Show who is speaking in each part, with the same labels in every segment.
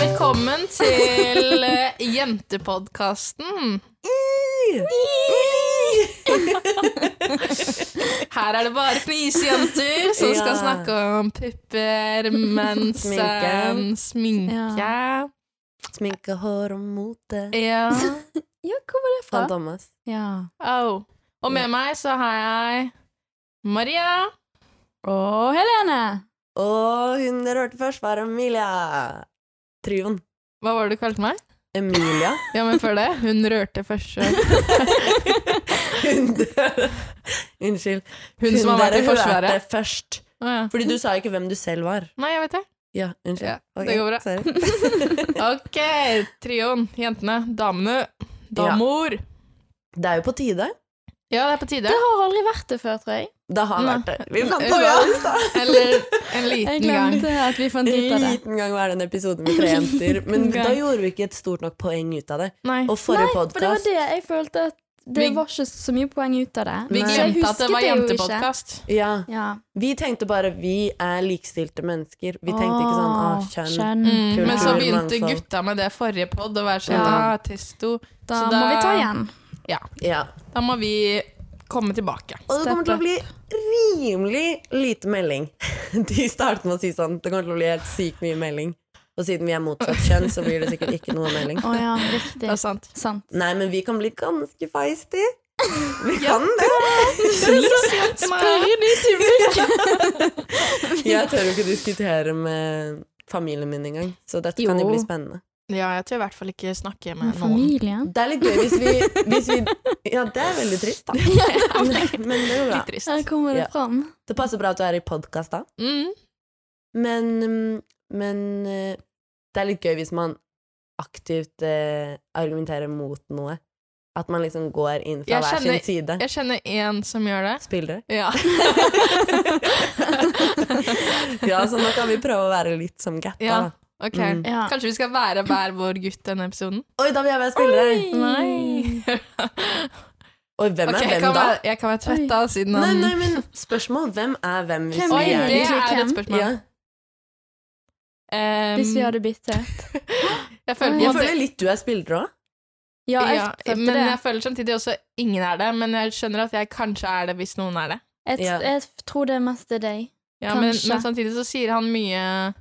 Speaker 1: Velkommen til eh, Jentepodkasten. Her er det bare fnisejenter som skal
Speaker 2: Ja.
Speaker 1: snakke om pupper, mens
Speaker 2: Sminke.
Speaker 1: eh, sminke.
Speaker 2: Sminke, hår og mote.
Speaker 1: Ja.
Speaker 3: Ja, hvor var det fra?
Speaker 2: Faen, Thomas.
Speaker 3: Ja.
Speaker 1: Au. Og med meg så har jeg Maria.
Speaker 3: Og Helene!
Speaker 2: Og hun dere hørte først, var Emilia. Trioen.
Speaker 1: Hva var det du kalte meg?
Speaker 2: Emilia.
Speaker 1: Ja, men før det. Hun rørte først.
Speaker 2: Hun dere- Unnskyld.
Speaker 1: Hun som har vært i
Speaker 2: dere
Speaker 1: Forsvaret.
Speaker 2: hørte først.
Speaker 1: Å, ja.
Speaker 2: Fordi du sa jo ikke hvem du selv var.
Speaker 1: Nei, jeg vet det.
Speaker 2: Ja, unnskyld.
Speaker 1: Ja,
Speaker 2: Ok,
Speaker 1: det går bra.
Speaker 2: Sorry.
Speaker 1: Ok, trioen. Jentene. Damene. Damor. Ja.
Speaker 2: Det er jo på tide.
Speaker 1: det er på tide.
Speaker 3: Jeg har aldri vært det før, tror jeg.
Speaker 2: Det har
Speaker 1: Nei.
Speaker 2: vært det. Vi fant
Speaker 1: Eh,
Speaker 2: på det i stad.
Speaker 1: Eller en
Speaker 3: Jeg
Speaker 1: liten gang.
Speaker 3: glemte at vi fant
Speaker 2: En
Speaker 3: ut av det.
Speaker 2: liten gang var det en episode med tre jenter, men
Speaker 3: Gang.
Speaker 2: da gjorde vi ikke et stort nok poeng ut av det.
Speaker 1: Nei.
Speaker 2: Og forrige
Speaker 3: For det var
Speaker 2: podkast
Speaker 3: det jeg følte at det
Speaker 1: Vi-
Speaker 3: var ikke så mye poeng ut av det.
Speaker 1: Vi
Speaker 2: Nei.
Speaker 3: Så jeg
Speaker 1: glemte at det
Speaker 3: husket
Speaker 1: var
Speaker 3: jo ikke.
Speaker 1: jentepodkast.
Speaker 2: ja,
Speaker 3: Ja.
Speaker 2: Vi tenkte bare vi er likestilte mennesker. Vi tenkte ikke sånn ah, kjønn.
Speaker 1: Mm,
Speaker 2: Kultur,
Speaker 1: men så begynte
Speaker 2: mangfold.
Speaker 1: gutta med det forrige pod å være sånn
Speaker 3: Ja.
Speaker 1: ah, testo.
Speaker 3: Da
Speaker 1: Så
Speaker 3: må
Speaker 1: da-
Speaker 3: vi ta igjen.
Speaker 2: Ja.
Speaker 1: Da må vi komme tilbake.
Speaker 2: Og det kommer til å bli rimelig lite melding. De startet med å si sånn Det kommer til å bli helt sykt mye melding. Og siden vi er motsatt kjønn, så blir det sikkert ikke noe melding.
Speaker 3: Å ja,
Speaker 1: Det
Speaker 3: riktig.
Speaker 1: er sant.
Speaker 3: Sant.
Speaker 2: Nei, men vi kan bli ganske feisty. Vi kan det.
Speaker 1: Spør-
Speaker 3: de til
Speaker 2: Jeg tør jo ikke diskutere med familien min engang, så dette kan jo
Speaker 3: Jo.
Speaker 2: bli spennende.
Speaker 1: Ja, jeg tør i hvert fall ikke snakke med noen.
Speaker 3: Familien?
Speaker 2: Det er litt gøy hvis vi, hvis vi Ja, det er veldig trist, da. Men det går bra.
Speaker 1: Litt trist.
Speaker 3: Her kommer det
Speaker 2: Ja.
Speaker 3: fram.
Speaker 2: Det passer bra at du er i podkast, da.
Speaker 1: Mm.
Speaker 2: Men, mm, men eh, det er litt gøy hvis man aktivt eh, argumenterer mot noe. At man liksom går inn fra
Speaker 1: Jeg
Speaker 2: hver
Speaker 1: kjenner-
Speaker 2: sin side.
Speaker 1: Jeg kjenner én som gjør det.
Speaker 2: Spiller.
Speaker 1: Ja.
Speaker 2: Ja, så nå kan vi prøve å være litt som Gatta.
Speaker 1: Ja.
Speaker 2: da.
Speaker 1: Ok.
Speaker 2: Mm.
Speaker 3: Ja.
Speaker 1: Kanskje vi skal være hver vår gutt denne episoden?
Speaker 2: Oi, da vil jeg være spillere! Oi,
Speaker 1: Nei.
Speaker 2: hvem
Speaker 1: Ok,
Speaker 2: er
Speaker 1: jeg
Speaker 2: hvem,
Speaker 1: kan
Speaker 2: da?
Speaker 1: være, jeg kan være tvett, da, siden
Speaker 2: Nei,
Speaker 1: han
Speaker 2: nei, men spørsmål. Hvem er hvem? Hvis
Speaker 3: Hvem
Speaker 1: Oi,
Speaker 2: vi
Speaker 3: er
Speaker 1: det
Speaker 3: egentlig
Speaker 1: er et
Speaker 3: hvem?
Speaker 1: spørsmål.
Speaker 2: Ja.
Speaker 1: Em,
Speaker 3: Hvis vi hadde byttet.
Speaker 1: jeg føler, på en
Speaker 2: Jeg
Speaker 1: måte-
Speaker 2: føler litt du er spiller òg.
Speaker 3: Ja, jeg
Speaker 1: ja,
Speaker 3: følte
Speaker 1: men
Speaker 3: det.
Speaker 1: jeg føler samtidig også ingen er det, men jeg skjønner at jeg kanskje er det hvis noen er det.
Speaker 3: Jeg,
Speaker 2: Ja.
Speaker 3: jeg tror det mest er deg.
Speaker 1: Ja, men,
Speaker 3: Kanskje.
Speaker 1: men samtidig så sier han mye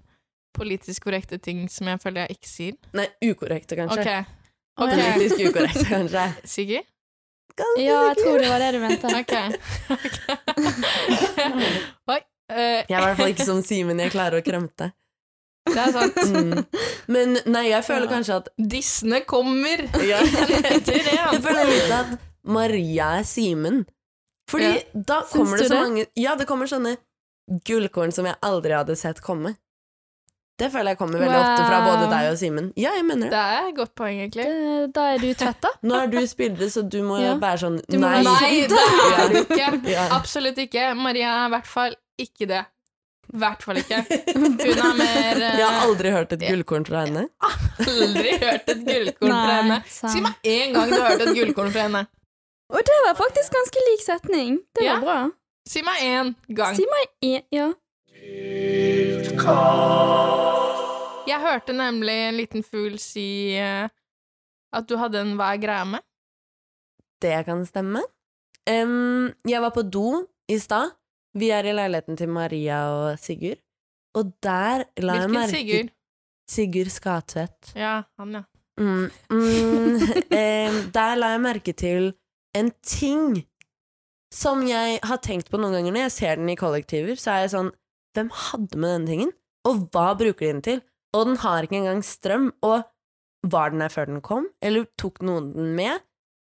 Speaker 1: politisk korrekte ting som jeg føler jeg ikke sier.
Speaker 2: Nei, ukorrekte, kanskje.
Speaker 1: Ok,
Speaker 3: Å,
Speaker 1: Ok.
Speaker 3: ja.
Speaker 2: Politisk ukorrekte, kanskje.
Speaker 1: Siggy?
Speaker 3: Ja, jeg tror det var det du mente.
Speaker 1: Ok. Ok. Oi. eh,
Speaker 2: Jeg er i hvert fall ikke som Simen, jeg klarer å kremte.
Speaker 1: det er sånn, sant.
Speaker 2: Mm. Men nei, jeg føler kanskje at
Speaker 1: Disney kommer!
Speaker 2: ja,
Speaker 1: Heter det,
Speaker 2: Jeg
Speaker 1: altså.
Speaker 2: føler litt at Maria er Simen. Fordi
Speaker 1: Ja.
Speaker 2: da kommer det
Speaker 3: du
Speaker 2: så
Speaker 3: det?
Speaker 2: mange Ja, det kommer sånne gullkorn som jeg aldri hadde sett komme. Det føler jeg kommer veldig ofte fra
Speaker 3: Wow.
Speaker 2: både deg og Simen. Ja, jeg mener det.
Speaker 1: Det er et godt poeng, egentlig.
Speaker 3: Eh, Da er du tvett, da.
Speaker 2: Nå er du spillere, så du må jo
Speaker 3: Ja.
Speaker 2: være sånn
Speaker 3: må
Speaker 2: Nei.
Speaker 3: være
Speaker 1: Nei, det er du ikke.
Speaker 2: Ja.
Speaker 1: Absolutt ikke. Maria er i hvert fall ikke det. I hvert fall ikke. Hun er mer eh,
Speaker 2: Jeg har aldri hørt et gullkorn fra henne.
Speaker 1: aldri hørt et gullkorn fra henne. Si
Speaker 3: sant.
Speaker 1: meg én gang du har hørt et gullkorn fra henne.
Speaker 3: Og det var faktisk ganske lik setning. Det var
Speaker 1: Ja.
Speaker 3: bra.
Speaker 1: Si meg én gang.
Speaker 3: Si meg en, ja.
Speaker 1: Jeg hørte nemlig en liten fugl si eh, at du hadde en hva er greia med.
Speaker 2: Det kan stemme. Em, jeg var på do i stad. Vi er i leiligheten til Maria og Sigurd. Og der la jeg
Speaker 1: Hvilken
Speaker 2: merke
Speaker 1: Sigurd?
Speaker 2: Sigurd Skatvedt.
Speaker 1: Ja, han, ja.
Speaker 2: Mm, mm, em, der la jeg merke til en ting som jeg har tenkt på noen ganger når jeg ser den i kollektiver. Så er jeg sånn Hvem hadde med denne tingen? Og hva bruker de den til? Og den har ikke engang strøm. Og var den her før den kom? Eller tok noen den med?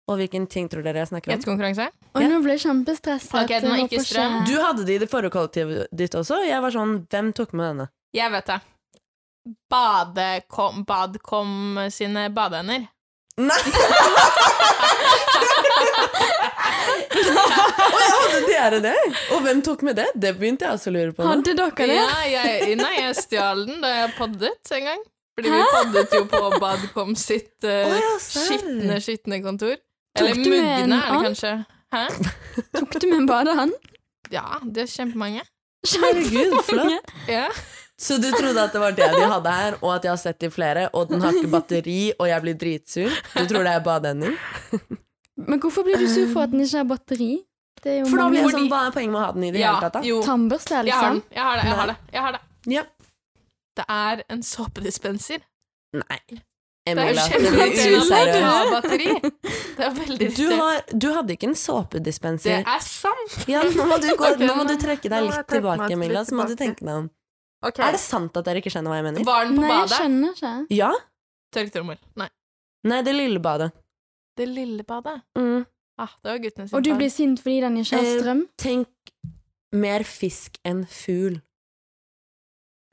Speaker 2: Og hvilken ting tror dere jeg snakker om?
Speaker 1: Gjettekonkurranse?
Speaker 3: Og
Speaker 2: Ja.
Speaker 3: nå ble jeg kjempestresset.
Speaker 1: Ok, den var
Speaker 3: Jeg
Speaker 1: ikke
Speaker 3: håper
Speaker 1: strøm.
Speaker 2: Du hadde de i det forrige kollektivet ditt også. Jeg var sånn, hvem tok med denne?
Speaker 1: Jeg vet det. Badekom, Badkom sine badeender.
Speaker 2: Nei! Å, jeg hadde dere det? Og hvem tok med det? Det begynte jeg også å lure på. nå.
Speaker 3: Hadde dere det?
Speaker 1: Ja, jeg, nei, jeg stjal den da jeg poddet en gang. Fordi vi poddet jo på Badkom sitt eh,
Speaker 2: Å, ja, serr.
Speaker 1: skitne, skitne kontor. Eller
Speaker 3: du med
Speaker 1: mugne, er
Speaker 3: en
Speaker 1: det
Speaker 3: annen?
Speaker 1: kanskje. Hæ?
Speaker 3: Tok du med en badehånd?
Speaker 1: Ja, det er kjempemange.
Speaker 2: Herregud, flott.
Speaker 1: Ja.
Speaker 2: Så du trodde at det var det de hadde her, og at jeg har sett de flere, og den har ikke batteri, og jeg blir dritsur? Du tror det er badeending?
Speaker 3: Men hvorfor blir du sur for at den ikke har batteri? Det er jo
Speaker 2: For da blir
Speaker 3: mange
Speaker 2: jeg sånn, hva er poenget med å ha den i det
Speaker 1: Ja,
Speaker 2: hele tatt, da?
Speaker 1: jo.
Speaker 3: tannbørster,
Speaker 1: Jeg har den.
Speaker 3: liksom.
Speaker 1: Jeg har det. Jeg har det. Jeg har det.
Speaker 2: Ja.
Speaker 1: det er en såpedispenser.
Speaker 2: Nei.
Speaker 1: Det er jo
Speaker 2: Emilia, det blir
Speaker 1: kjempeirriterende at du
Speaker 2: useriøst.
Speaker 1: har batteri. Det er veldig
Speaker 2: Du,
Speaker 1: irriterende.
Speaker 2: har, du hadde ikke en
Speaker 1: Det
Speaker 2: såpedispenser.
Speaker 1: er sant!
Speaker 2: Ja, nå må, du gå,
Speaker 1: Ok,
Speaker 2: nå må du
Speaker 1: nå-
Speaker 2: trekke
Speaker 1: nå
Speaker 2: deg
Speaker 1: må jeg
Speaker 2: litt
Speaker 1: trekke meg
Speaker 2: tilbake, Emilia, så må du
Speaker 1: litt tilbake.
Speaker 2: tenke deg om.
Speaker 1: Ok.
Speaker 2: Er det sant at dere ikke skjønner hva jeg mener?
Speaker 1: Var den på
Speaker 3: Nei, jeg
Speaker 1: badet?
Speaker 3: skjønner ikke.
Speaker 2: Ja?
Speaker 1: Tørketrommel. Nei.
Speaker 2: Nei, det lille badet.
Speaker 1: Det lille badet.
Speaker 2: Mm.
Speaker 1: Ah, det var guttene sin
Speaker 3: Og du
Speaker 1: feil.
Speaker 3: blir sint fordi den ikke har
Speaker 2: Eh,
Speaker 3: strøm?
Speaker 2: Tenk mer fisk enn fugl.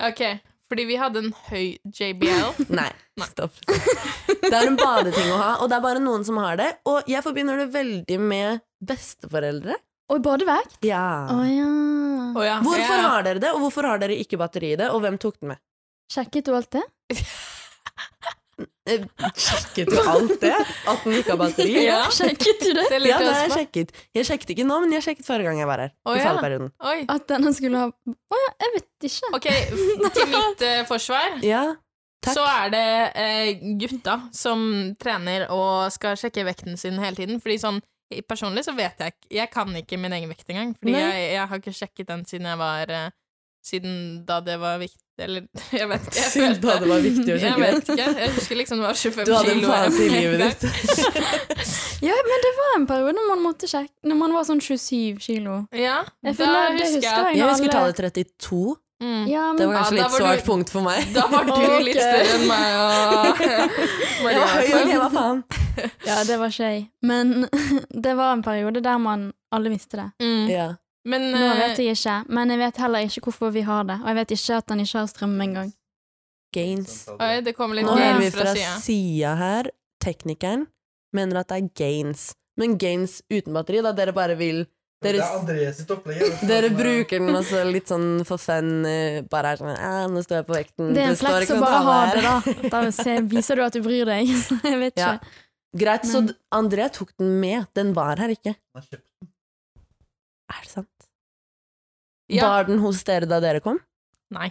Speaker 1: Ok, fordi vi hadde en høy JBL.
Speaker 2: Nei,
Speaker 1: Nei.
Speaker 2: stopp. Det er en badeting å ha, og det er bare noen som har det. Og jeg forbinder det veldig med besteforeldre.
Speaker 3: Og badevekt?
Speaker 2: Ja.
Speaker 3: Å ja.
Speaker 1: Å ja,
Speaker 2: Hvorfor
Speaker 1: ja.
Speaker 2: har dere det, og hvorfor har dere ikke batteri i det, og hvem tok den med?
Speaker 3: Sjekket du alt det?
Speaker 2: Eh, Sjekket du alt det? At den ikke har batteri?
Speaker 1: Ja.
Speaker 3: Sjekket du det?
Speaker 1: Det er litt
Speaker 2: Ja, det har
Speaker 1: å
Speaker 2: jeg
Speaker 1: huske på.
Speaker 2: sjekket. Jeg sjekket ikke nå, men jeg sjekket forrige gang jeg var her.
Speaker 1: Å,
Speaker 2: I
Speaker 1: ja.
Speaker 2: fallperioden.
Speaker 1: Oi.
Speaker 3: At denne skulle ha Å ja, jeg vet ikke.
Speaker 1: Ok, til mitt eh, forsvar
Speaker 2: Ja. Takk.
Speaker 1: så er det eh, gutta som trener og skal sjekke vekten sin hele tiden. Fordi sånn i- personlig så vet jeg ikke Jeg kan ikke min egen vekt engang. Fordi
Speaker 2: Nei.
Speaker 1: jeg, jeg har ikke sjekket den siden jeg var eh, Siden da det var viktig Eller jeg vet ikke. Jeg,
Speaker 2: Siden da det var viktig å
Speaker 1: jeg
Speaker 2: sjekke
Speaker 1: vet ikke. Jeg husker liksom det var 25
Speaker 2: Du
Speaker 1: kilo.
Speaker 2: hadde en fase i
Speaker 1: jeg-
Speaker 2: livet ditt.
Speaker 3: Ja, men det var en periode når man måtte sjekke Når man var sånn 27 kilo.
Speaker 1: Ja, da
Speaker 3: Jeg føler-
Speaker 1: husker
Speaker 3: det
Speaker 1: jeg
Speaker 3: husker
Speaker 1: at
Speaker 3: jeg.
Speaker 2: Jeg husker
Speaker 3: Alle-
Speaker 2: tallet 32.
Speaker 1: mm,
Speaker 3: Ja,
Speaker 2: Det
Speaker 3: men
Speaker 2: var
Speaker 1: Ja, da
Speaker 2: kanskje litt
Speaker 1: var
Speaker 2: svart
Speaker 1: du-
Speaker 2: punkt for meg.
Speaker 1: Da var du
Speaker 3: Ok.
Speaker 1: litt større enn meg og
Speaker 2: Jeg var høy,
Speaker 1: Maria. altså.
Speaker 2: ok, hva faen?
Speaker 3: Ja, det var ikke jeg. Men det var en periode der man alle visste det.
Speaker 1: Mm.
Speaker 2: Ja.
Speaker 1: Men
Speaker 3: Nå
Speaker 1: eh,
Speaker 3: vet jeg ikke, men jeg vet heller ikke hvorfor vi har det. Og jeg vet ikke at den ikke har strøm engang.
Speaker 2: Gains.
Speaker 1: oi, det kommer litt
Speaker 2: Nå hører vi
Speaker 1: gains
Speaker 2: fra
Speaker 1: fra sida.
Speaker 2: sida her. Teknikeren mener at det er gains. Men gains uten batteri, da dere bare vil
Speaker 4: Det
Speaker 2: Dere,
Speaker 4: er Andreas sitt opplegg. da.
Speaker 2: dere bruker den også litt sånn for fun. eh, Bare er sånn «Ah, 'Nå står jeg på vekten'.
Speaker 3: Det er en
Speaker 2: står
Speaker 3: flex
Speaker 2: ikke
Speaker 3: å
Speaker 2: noe
Speaker 3: bare
Speaker 2: tall
Speaker 3: ha
Speaker 2: her.
Speaker 3: det, da. Da se- viser du at du bryr deg. Så jeg vet
Speaker 2: Ja.
Speaker 3: ikke.
Speaker 2: Greit, så
Speaker 3: Men-
Speaker 2: d- Andrea tok den med. Den var her ikke.
Speaker 4: Han har kjøpt-
Speaker 2: Er det sant?
Speaker 1: Ja.
Speaker 2: Var den hos dere da dere kom?
Speaker 1: Nei.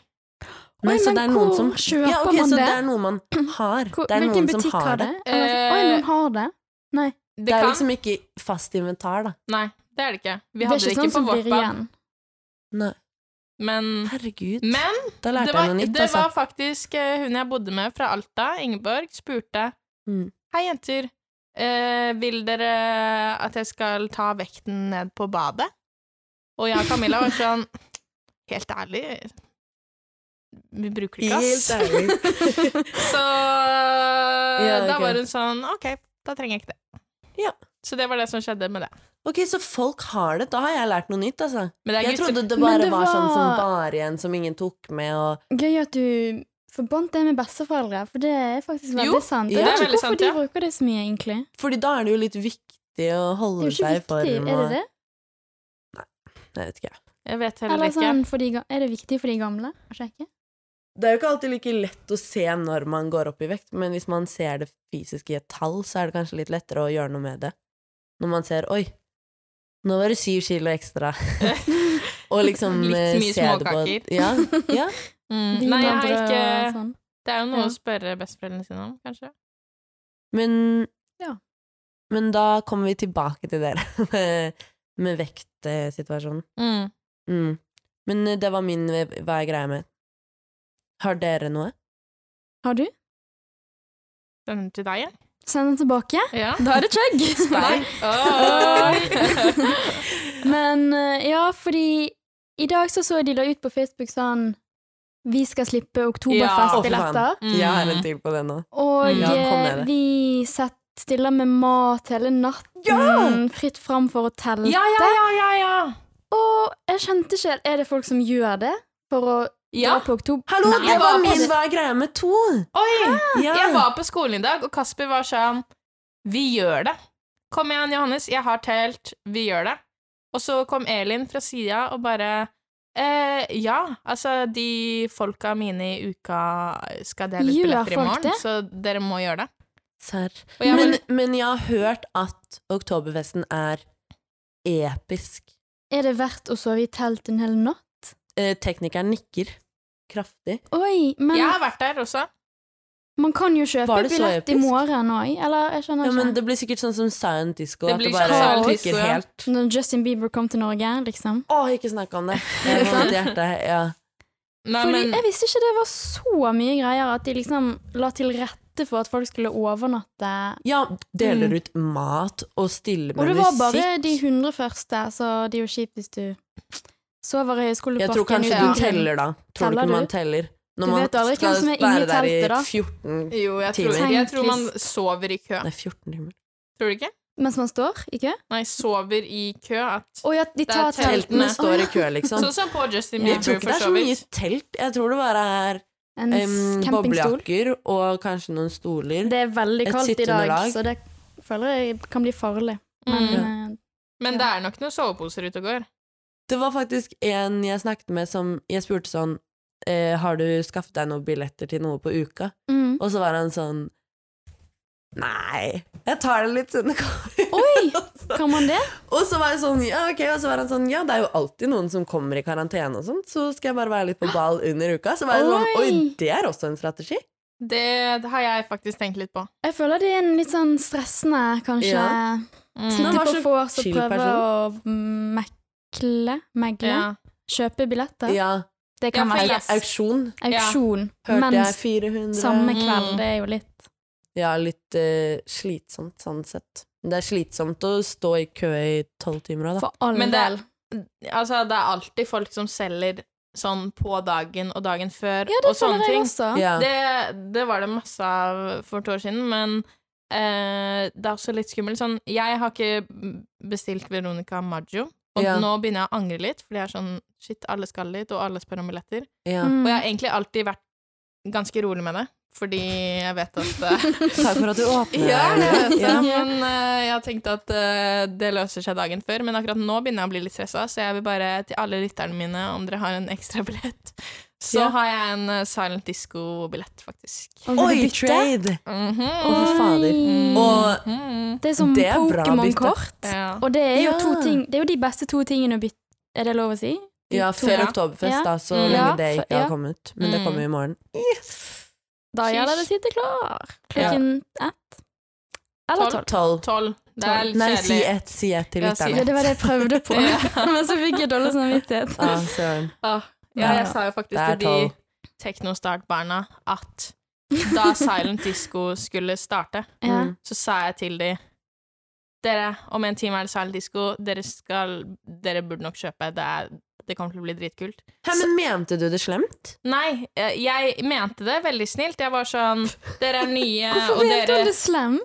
Speaker 2: Nei,
Speaker 3: Oi,
Speaker 2: så
Speaker 3: men
Speaker 2: det er noen
Speaker 3: hvor
Speaker 2: som
Speaker 3: kjøper
Speaker 2: ja, ok,
Speaker 3: man
Speaker 2: så
Speaker 3: det?
Speaker 2: det er noe man har.
Speaker 3: Hvor,
Speaker 2: det er
Speaker 3: hvilken
Speaker 2: noen som
Speaker 3: butikk har det? Eller sånn,
Speaker 1: Eh,
Speaker 3: Oi, noen har det.
Speaker 1: Det,
Speaker 2: Det, er
Speaker 1: kan
Speaker 2: liksom ikke fast inventar, da.
Speaker 1: Nei, det er det ikke. Vi
Speaker 3: Det
Speaker 1: hadde
Speaker 3: er
Speaker 1: det
Speaker 3: ikke
Speaker 1: ikke,
Speaker 3: sånn
Speaker 1: på
Speaker 3: som blir
Speaker 1: vårt band.
Speaker 3: igjen.
Speaker 2: Nei.
Speaker 1: Men,
Speaker 3: Mm.
Speaker 2: Herregud,
Speaker 1: men
Speaker 2: da
Speaker 1: det,
Speaker 2: lærte jeg
Speaker 1: var,
Speaker 2: noe nytt.
Speaker 1: det
Speaker 2: Altså.
Speaker 1: var faktisk eh, hun jeg bodde med fra Alta, Ingeborg, spurte
Speaker 2: Mm.
Speaker 1: Hei, jenter. eh, vil dere at jeg skal ta vekten ned på badet? Og jeg og Camilla var sånn Helt ærlig Vi bruker det ikke, ass.
Speaker 2: Helt ærlig.
Speaker 1: Så da
Speaker 2: ok.
Speaker 1: var hun sånn Ok, da trenger jeg ikke det.
Speaker 2: Ja.
Speaker 1: Så det var det som skjedde med det.
Speaker 2: Ok, så folk har det. Da har jeg lært noe nytt, altså.
Speaker 1: Men det er
Speaker 2: Jeg
Speaker 1: gutter-
Speaker 2: trodde det
Speaker 3: Men
Speaker 2: bare
Speaker 3: det
Speaker 2: var sånn som
Speaker 3: var-
Speaker 2: var igjen, som ingen tok med, og
Speaker 3: Gøy at du forbandt det med besteforeldre, for det er faktisk veldig
Speaker 1: Jo,
Speaker 3: sant.
Speaker 2: ja,
Speaker 3: Jeg
Speaker 2: det
Speaker 3: vet
Speaker 1: er
Speaker 3: ikke
Speaker 1: veldig
Speaker 3: hvorfor
Speaker 1: sant,
Speaker 3: de
Speaker 1: ja.
Speaker 3: bruker det så mye, egentlig.
Speaker 2: Fordi da er det jo litt viktig å
Speaker 3: Det er
Speaker 2: holde
Speaker 3: jo ikke
Speaker 2: seg i
Speaker 3: viktig,
Speaker 2: form
Speaker 3: er det
Speaker 2: og
Speaker 3: det?
Speaker 2: Jeg vet ikke.
Speaker 1: Jeg vet heller
Speaker 3: Eller
Speaker 1: ikke.
Speaker 3: sånn, for de, ga- er det viktig for de gamle å sjekke?
Speaker 2: Det er jo ikke alltid like lett å se når man går opp i vekt, men hvis man ser det fysisk i et tall, så er det kanskje litt lettere å gjøre noe med det. Når man ser 'oi, nå var det syv kilo ekstra', og liksom
Speaker 1: Litt
Speaker 2: eh,
Speaker 1: mye
Speaker 2: se det på
Speaker 1: småkaker.
Speaker 2: Ja, ja.
Speaker 1: Mm.
Speaker 3: Vin
Speaker 1: Nei, jeg
Speaker 3: og
Speaker 1: har
Speaker 3: brød
Speaker 1: ikke
Speaker 3: og sånn.
Speaker 1: Det er jo noe
Speaker 3: Ja.
Speaker 1: å spørre besteforeldrene sine om, kanskje.
Speaker 2: Men
Speaker 3: Ja.
Speaker 2: Men da kommer vi tilbake til dere med, med vektsituasjonen. Mm. Men eh, det var min eh, Hva er greia med? Har dere noe?
Speaker 3: Har du?
Speaker 1: Den til deg, jeg.
Speaker 3: Send den tilbake.
Speaker 1: Ja.
Speaker 3: Da er det chug!
Speaker 1: Nei. Oi.
Speaker 3: Men eh, ja, fordi i dag så så de la ut på Facebook sånn Vi skal slippe
Speaker 2: Ja,
Speaker 3: Oktoberfest-billetter.
Speaker 1: Mm.
Speaker 2: Jeg har en til på det nå.
Speaker 3: Og
Speaker 1: Ja,
Speaker 2: kom med
Speaker 3: eh,
Speaker 2: det.
Speaker 3: vi sett, stiller med mat hele natten. Fritt fram for å telte.
Speaker 1: ja, ja, ja, ja, ja.
Speaker 3: Og jeg skjønte ikke helt Er det folk som gjør det for å
Speaker 1: Ja.
Speaker 3: dra på oktober?
Speaker 2: Hallo,
Speaker 1: Nei,
Speaker 2: det
Speaker 1: jeg
Speaker 2: var
Speaker 1: var
Speaker 2: min
Speaker 1: på-
Speaker 2: Hva er greia med to?
Speaker 1: Oi!
Speaker 2: Ja.
Speaker 1: Jeg var på skolen i dag, og Kasper var sånn Vi gjør det. Kom igjen, Johannes. Jeg har telt. Vi gjør det. Og så kom Elin fra sida og bare eh, Ja, altså, de folka mine i uka skal dele ut
Speaker 3: Gjør
Speaker 1: billetter i
Speaker 3: folk
Speaker 1: morgen,
Speaker 3: det?
Speaker 1: så dere må gjøre det.
Speaker 2: Serr.
Speaker 1: Og jeg
Speaker 2: Men,
Speaker 1: bare,
Speaker 2: men jeg har hørt at Oktoberfesten er episk.
Speaker 3: Er det verdt å sove i telt en hel natt?
Speaker 2: eh, teknikeren nikker kraftig.
Speaker 3: Oi, men
Speaker 1: Jeg har vært der også.
Speaker 3: man kan jo kjøpe
Speaker 2: Var det så
Speaker 3: billett i
Speaker 2: episk?
Speaker 3: morgen òg, eller? Jeg skjønner
Speaker 2: Ja,
Speaker 3: ikke.
Speaker 2: men det blir sikkert sånn som Silent Disco.
Speaker 1: Det
Speaker 2: at
Speaker 1: blir
Speaker 2: det bare
Speaker 3: sånn Silent
Speaker 2: klikker
Speaker 1: Disco, ja.
Speaker 2: helt.
Speaker 3: Når Justin Bieber kom til Norge, liksom.
Speaker 2: Å, ikke snakk om det! Jeg må
Speaker 3: sant?
Speaker 2: til hjertet. Ja.
Speaker 1: Nei,
Speaker 3: Fordi
Speaker 1: men
Speaker 3: Jeg visste ikke det var så mye greier at de liksom la til rette for at folk skulle overnatte.
Speaker 2: ja, deler ut mat og stiller med
Speaker 3: Og det var bare de
Speaker 2: musikk.
Speaker 3: 100 første, så det er jo kjipt hvis du sover i
Speaker 2: Jeg tror
Speaker 3: Høgskoleparken.
Speaker 2: kanskje
Speaker 1: Ja.
Speaker 2: du teller, da. Tror
Speaker 3: Teller
Speaker 2: du ikke man
Speaker 3: du?
Speaker 2: teller?
Speaker 3: Du
Speaker 2: Når man
Speaker 3: vet aldri hvem
Speaker 2: skal
Speaker 3: som er
Speaker 2: være
Speaker 3: inni
Speaker 2: der i
Speaker 3: teltet, da.
Speaker 2: 14
Speaker 1: jo, jeg tror,
Speaker 2: Timer.
Speaker 1: jeg tror man sover i kø.
Speaker 2: Nei, 14 timer.
Speaker 1: Tror du ikke?
Speaker 3: Mens man står i kø.
Speaker 1: Nei, sover i kø. At,
Speaker 3: Og ja, de
Speaker 1: er
Speaker 3: tar
Speaker 2: Teltene
Speaker 3: teltene.
Speaker 2: står i kø, liksom.
Speaker 1: sånn som på Justin
Speaker 3: Ja.
Speaker 2: Jeg tror
Speaker 1: Bieber,
Speaker 2: ikke det
Speaker 1: for
Speaker 2: er
Speaker 1: så
Speaker 2: så mye
Speaker 1: vidt.
Speaker 2: telt. Jeg tror det bare er
Speaker 3: En
Speaker 2: em,
Speaker 3: s- campingstol.
Speaker 2: boblejakker og kanskje noen stoler.
Speaker 3: Det er veldig
Speaker 2: Et
Speaker 3: kaldt i dag,
Speaker 2: sitteunderlag.
Speaker 3: så det føler jeg kan bli farlig. Men
Speaker 1: Mm.
Speaker 3: eh,
Speaker 1: Men det er nok noen soveposer ute og går.
Speaker 2: Det var faktisk en jeg snakket med som Jeg spurte sånn eh, Har du skaffet deg noen billetter til noe på uka?
Speaker 3: mm.
Speaker 2: Og så var han sånn Nei, jeg tar det litt siden det kommer.
Speaker 3: Oi!
Speaker 2: Og så-
Speaker 3: Kan man det?
Speaker 2: og så var jeg sånn, ja ok Og så var han sånn, ja det er jo alltid noen som kommer i karantene og sånt Så skal jeg bare være litt på ball under uka Så var jeg sånn,
Speaker 3: Oi.
Speaker 2: oi det er også en strategi
Speaker 1: Det, det har jeg faktisk tenkt litt på.
Speaker 3: Jeg føler det er en litt sånn stressende, kanskje.
Speaker 2: Ja.
Speaker 1: Mm.
Speaker 2: Snakk
Speaker 3: Snitte
Speaker 2: Han var
Speaker 3: på
Speaker 2: så
Speaker 3: vors og
Speaker 2: chill
Speaker 3: prøve
Speaker 2: person.
Speaker 3: å mekle Megle?
Speaker 1: Ja.
Speaker 3: Kjøpe billetter?
Speaker 2: Ja,
Speaker 3: Det kan
Speaker 1: Ja, for
Speaker 3: være
Speaker 1: jeg-
Speaker 3: stress.
Speaker 1: Yes.
Speaker 2: auksjon
Speaker 3: Auksjon.
Speaker 2: Hørte jeg
Speaker 3: Mens
Speaker 2: 400
Speaker 3: samme
Speaker 1: Mm.
Speaker 3: kveld. Det er jo litt
Speaker 2: Ja, litt eh, slitsomt sånn sett Det er slitsomt å stå i kø i 12 timer også, da
Speaker 3: for all
Speaker 1: Men det-
Speaker 3: del.
Speaker 1: Altså, det er alltid folk som selger sånn på dagen og dagen før
Speaker 3: Ja, det
Speaker 1: og sånne
Speaker 3: føler jeg
Speaker 1: ting.
Speaker 3: også.
Speaker 2: ja.
Speaker 1: Det, det var det masse av for et år siden, men eh, det er også litt skummelt. Sånn, jeg har ikke bestilt Veronica Maggio, og
Speaker 2: Ja.
Speaker 1: nå begynner jeg å angre litt, fordi jeg er sånn shit, alle skal dit, og alle spør om billetter.
Speaker 2: ja.
Speaker 3: Mm.
Speaker 1: Og jeg har egentlig alltid vært ganske rolig med det, fordi jeg vet at eh,
Speaker 2: Takk for at du åpner
Speaker 1: Ja, jeg vet det, sånn
Speaker 2: Ja.
Speaker 1: men eh, jeg har tenkt at eh, det løser seg dagen før. Men akkurat nå begynner jeg å bli litt stressa, så jeg vil bare til alle lytterne mine, om dere har en ekstra billett, så
Speaker 2: Ja.
Speaker 1: har jeg en eh, Silent Disco-billett, faktisk.
Speaker 3: Og vil du
Speaker 2: Oi,
Speaker 3: bytte?
Speaker 2: trade!
Speaker 1: Mhm.
Speaker 2: Å, fy fader.
Speaker 3: Oi.
Speaker 2: Og
Speaker 1: Mhm.
Speaker 3: Det er som
Speaker 2: Det er bra
Speaker 3: Pokémon-kort.
Speaker 1: Mm. Ja.
Speaker 3: Og det er jo
Speaker 2: Ja.
Speaker 3: to ting Det er jo de beste to tingene å bytte Er det lov å si?
Speaker 2: ja, før
Speaker 1: Ja.
Speaker 2: Oktoberfest,
Speaker 3: Ja.
Speaker 2: da, så
Speaker 1: Mm.
Speaker 2: lenge
Speaker 3: Ja,
Speaker 2: det ikke
Speaker 3: for- ja.
Speaker 2: har kommet. Men det
Speaker 1: Mm.
Speaker 2: kommer jo i morgen.
Speaker 3: Da gjelder det å sitte klar klokken ett. Eller tolv.
Speaker 2: Tolv.
Speaker 1: Tolv. Det er litt
Speaker 2: Nei, si
Speaker 1: kjedelig.
Speaker 2: ett, si ett til
Speaker 1: Ja, si
Speaker 3: Ja,
Speaker 2: lytterne.
Speaker 3: det var det jeg prøvde på,
Speaker 1: Ja.
Speaker 3: men så fikk jeg dårlig samvittighet.
Speaker 2: Ja, søren.
Speaker 1: Ah, ja,
Speaker 3: Ja.
Speaker 1: jeg sa jo faktisk
Speaker 2: Det er
Speaker 1: til de Teknostart-barna at da Silent Disco skulle starte,
Speaker 3: Ja.
Speaker 2: Mm.
Speaker 1: så sa jeg til de Dere, om en time er det Silent Disco. Dere, skal, dere burde nok kjøpe. Det, er, det kommer til å bli dritkult.
Speaker 2: Hæ, men mente du det slemt?
Speaker 1: Nei, eh, jeg mente det veldig snilt. Jeg var sånn Dere er nye,
Speaker 3: Hvorfor
Speaker 1: Eh, og
Speaker 3: mente
Speaker 1: dere
Speaker 3: hun det slem?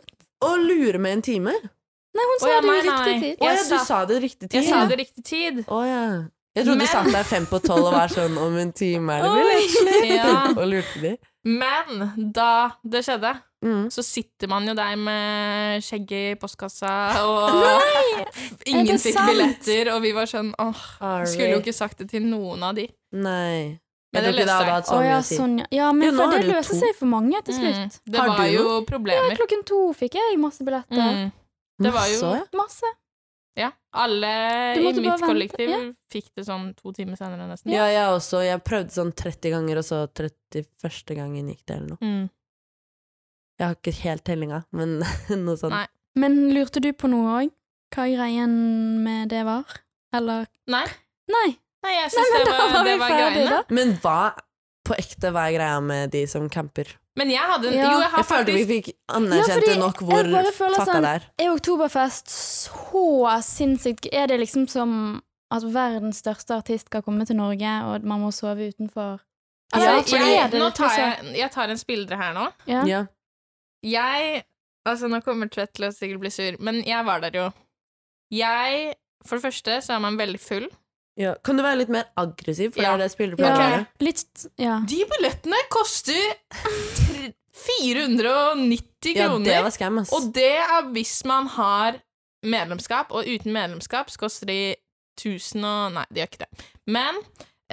Speaker 2: Å lure med en time?
Speaker 3: Nei, hun sa
Speaker 1: Å, ja,
Speaker 3: det
Speaker 1: nei,
Speaker 3: i riktig
Speaker 1: nei.
Speaker 3: tid.
Speaker 2: Å
Speaker 1: Jeg
Speaker 2: ja, du
Speaker 1: sa-
Speaker 2: sa det riktig
Speaker 1: Jeg
Speaker 2: tid.
Speaker 1: sa
Speaker 2: ja.
Speaker 1: det riktig tid.
Speaker 2: Å ja. Jeg trodde
Speaker 1: Men-
Speaker 2: du satt der fem på tolv og var sånn om en time er det
Speaker 3: Oi.
Speaker 2: billett slemt?
Speaker 1: Ja.
Speaker 2: Og lurte de.
Speaker 1: Men da det skjedde,
Speaker 2: Mm.
Speaker 1: så sitter man jo der med skjegget i postkassa, og
Speaker 3: Er
Speaker 1: ingen
Speaker 3: det
Speaker 1: fikk
Speaker 3: sant?
Speaker 1: billetter, og vi var sånn åh, skulle jo ikke sagt det til noen av de.
Speaker 2: Nei.
Speaker 1: Men
Speaker 2: Jeg tror
Speaker 1: det
Speaker 2: ikke det hadde
Speaker 1: løste
Speaker 2: hatt
Speaker 3: Å
Speaker 2: så
Speaker 3: ja,
Speaker 2: mye å si.
Speaker 3: sånn, ja. ja,
Speaker 2: Jo,
Speaker 3: men
Speaker 2: nå
Speaker 3: for
Speaker 2: har
Speaker 3: det
Speaker 2: du
Speaker 3: løser
Speaker 2: to.
Speaker 3: seg for mange til
Speaker 1: Mm.
Speaker 3: slutt.
Speaker 1: Det
Speaker 2: Har
Speaker 1: var
Speaker 2: du
Speaker 1: jo problemer.
Speaker 3: Klokken to fikk jeg masse billetter.
Speaker 1: Mm. Det var jo
Speaker 2: Så, ja.
Speaker 3: Masse.
Speaker 1: Ja. Alle
Speaker 3: Du
Speaker 1: i
Speaker 3: måtte bare
Speaker 1: mitt
Speaker 3: vente,
Speaker 1: kollektiv
Speaker 3: ja.
Speaker 1: fikk det sånn to timer senere, nesten.
Speaker 2: Ja, jeg også. Jeg prøvde sånn 30 ganger, og så 31. gangen gikk det, eller noe.
Speaker 1: Mm.
Speaker 2: Jeg har ikke helt tellinga, men noe sånt.
Speaker 1: Nei.
Speaker 3: Men lurte du på noe òg? Hva greien med det var? Eller
Speaker 1: Nei.
Speaker 3: Nei.
Speaker 1: Nei, jeg
Speaker 3: Nei,
Speaker 1: syns
Speaker 3: men
Speaker 1: det
Speaker 3: da var
Speaker 1: var, det
Speaker 3: vi
Speaker 1: var
Speaker 3: ferdig,
Speaker 1: greiene.
Speaker 3: da.
Speaker 2: Men hva på ekte hva er greia med de som camper?
Speaker 1: Men jeg hadde en
Speaker 3: Ja.
Speaker 1: Jo, jeg har
Speaker 2: Jeg følte vi
Speaker 1: faktisk
Speaker 2: fikk
Speaker 3: Ja,
Speaker 2: anerkjent
Speaker 3: fordi
Speaker 2: det nok hvor
Speaker 3: jeg bare føler
Speaker 2: fucka
Speaker 3: sånn-
Speaker 2: det er.
Speaker 3: Er Oktoberfest så sinnssykt gøy? Er det liksom som at verdens største artist skal komme til Norge, og man må sove utenfor?
Speaker 2: Ja,
Speaker 1: altså,
Speaker 2: fordi-
Speaker 1: jeg, Nå
Speaker 3: litt
Speaker 1: tar
Speaker 3: sånn?
Speaker 1: jeg, jeg tar en spildre her nå.
Speaker 3: Ja.
Speaker 2: Ja.
Speaker 1: Jeg Altså, nå kommer Tvedt til å sikkert bli sur, men jeg var der jo. Jeg For det første så er man veldig full.
Speaker 2: Ja. Kan du være litt mer aggressiv, for
Speaker 1: Ja.
Speaker 2: det er det spillere pleier
Speaker 3: Ja,
Speaker 2: å gjøre.
Speaker 3: Litt Ja.
Speaker 1: De billettene koster tre- 490
Speaker 2: Ja,
Speaker 1: kroner.
Speaker 2: det var scam, ass.
Speaker 1: Og det er hvis man har medlemskap, og uten medlemskap så koster de 1000 og Nei, de gjør ikke det. Men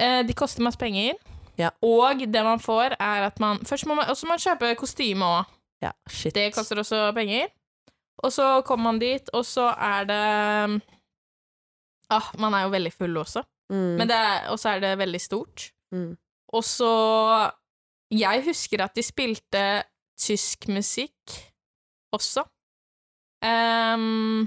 Speaker 1: eh, de koster masse penger,
Speaker 2: Ja.
Speaker 1: og det man får, er at man Først må man, og så må man kjøpe kostyme òg.
Speaker 2: Ja, shit.
Speaker 1: Det koster også penger. Og så um, kommer man dit, og så er det Ah, man er jo veldig full også.
Speaker 2: Mm.
Speaker 1: Men det er, og så er det veldig stort.
Speaker 2: Mm.
Speaker 1: Og så Jeg husker at de spilte tysk musikk også. Ehm,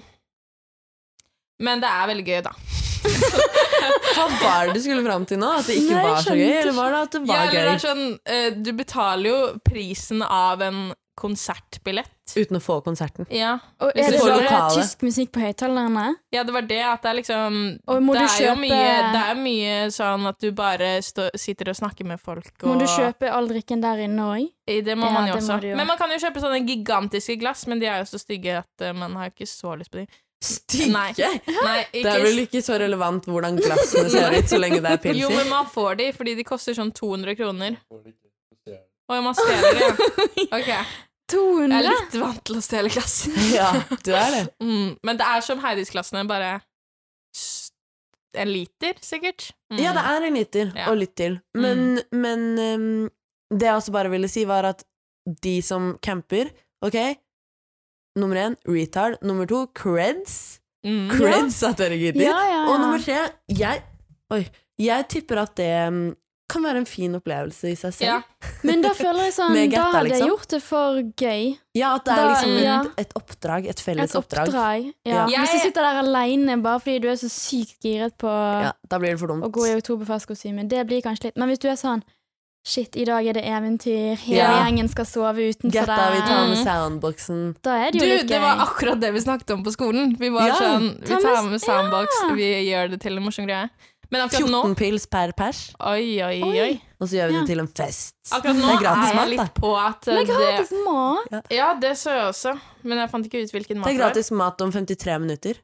Speaker 1: men det er veldig gøy, da.
Speaker 2: Hva var det du skulle fram til nå? At det ikke
Speaker 3: Nei, jeg
Speaker 2: var så
Speaker 3: skjønner
Speaker 2: gøy?
Speaker 3: ikke.
Speaker 2: Eller var det at det
Speaker 1: Ja,
Speaker 2: var
Speaker 1: eller det er
Speaker 2: gøy
Speaker 1: sånn, eh, du betaler jo prisen av en konsertbillett.
Speaker 2: uten å få konserten?
Speaker 1: Ja.
Speaker 3: Og
Speaker 1: Hvis
Speaker 3: er
Speaker 1: du
Speaker 3: det
Speaker 1: får
Speaker 3: bare
Speaker 2: lokale.
Speaker 3: tysk musikk på høyttalerne?
Speaker 1: ja, det var det at det er liksom
Speaker 3: Og må
Speaker 1: det,
Speaker 3: du
Speaker 1: er jo
Speaker 3: kjøpe-
Speaker 1: mye, det er jo mye sånn at du bare stå, sitter og snakker med folk. Og,
Speaker 3: Må du kjøpe all drikken der inne òg?
Speaker 1: I Det må
Speaker 3: Ja,
Speaker 1: man jo
Speaker 3: det må
Speaker 1: også.
Speaker 3: du jo.
Speaker 1: Men man kan jo kjøpe sånne gigantiske glass, men de er jo så stygge at eh, man har jo ikke så lyst på de. Nei.
Speaker 2: Stygge!
Speaker 1: Nei,
Speaker 2: Det
Speaker 1: ikke
Speaker 2: er vel ikke så relevant hvordan glassene ser ut, så lenge det er pils
Speaker 1: Jo,
Speaker 2: i.
Speaker 1: men man får de, fordi de koster sånn 200 kroner. Og man stjeler det, ja. Ok. Jeg er
Speaker 3: 200?
Speaker 1: litt vant til å stjele glass.
Speaker 2: Ja, du er det.
Speaker 1: Mm. Men det er som Heidis-klassene, bare s- en liter, sikkert. Mm.
Speaker 2: Ja, det er en liter,
Speaker 1: Ja. Mm.
Speaker 2: og litt til. Men, men um, det jeg også bare ville si, var at de som camper Ok, nummer én retard. Nummer to creds.
Speaker 1: Mm.
Speaker 2: Creds at dere gidder.
Speaker 3: Ja, ja.
Speaker 2: Og nummer tre jeg, oi, jeg tipper at det um, kan være en fin opplevelse i seg selv.
Speaker 1: Ja.
Speaker 2: Ja,
Speaker 3: Men da føler jeg sånn
Speaker 2: Med
Speaker 3: Da
Speaker 2: getta,
Speaker 3: hadde jeg
Speaker 2: liksom.
Speaker 3: gjort det for gøy.
Speaker 2: at det er
Speaker 3: Da-
Speaker 2: liksom
Speaker 3: ja.
Speaker 2: et, et oppdrag. Et felles
Speaker 3: Et
Speaker 2: oppdrag.
Speaker 3: oppdrag. Ja.
Speaker 1: Ja.
Speaker 3: Hvis du
Speaker 1: Jeg-
Speaker 3: sitter der aleine bare fordi du er så sykt giret på
Speaker 2: Ja, da blir det for dumt.
Speaker 3: å gå i oktoberfestkostyme, det blir kanskje litt Men hvis du er sånn Shit, i dag er det eventyr, hele
Speaker 2: Ja.
Speaker 3: gjengen skal sove utenfor
Speaker 2: Getta, vi
Speaker 3: der.
Speaker 2: tar med
Speaker 1: Mm.
Speaker 2: soundboxen.
Speaker 3: Da er det
Speaker 1: Du,
Speaker 3: jo litt gøy.
Speaker 1: det var akkurat det vi snakket om på skolen. Vi var
Speaker 2: Ja,
Speaker 1: sånn Vi
Speaker 3: ta med-
Speaker 1: tar med soundbox, vi gjør det til en morsom greie. Men akkurat nå
Speaker 2: 14 pils per pers,
Speaker 1: Oi, oi,
Speaker 3: Oi.
Speaker 1: oi.
Speaker 2: og så gjør vi
Speaker 3: Ja.
Speaker 2: det til en fest.
Speaker 1: Akkurat nå
Speaker 2: Det er
Speaker 1: er,
Speaker 2: gratis
Speaker 1: jeg
Speaker 2: mat, da.
Speaker 1: litt på at eh,
Speaker 3: Men
Speaker 1: det
Speaker 3: gratis mat!
Speaker 1: Ja, det så jeg også, men jeg fant ikke ut hvilken
Speaker 2: Det
Speaker 1: mat
Speaker 2: er gratis mat om 53 minutter.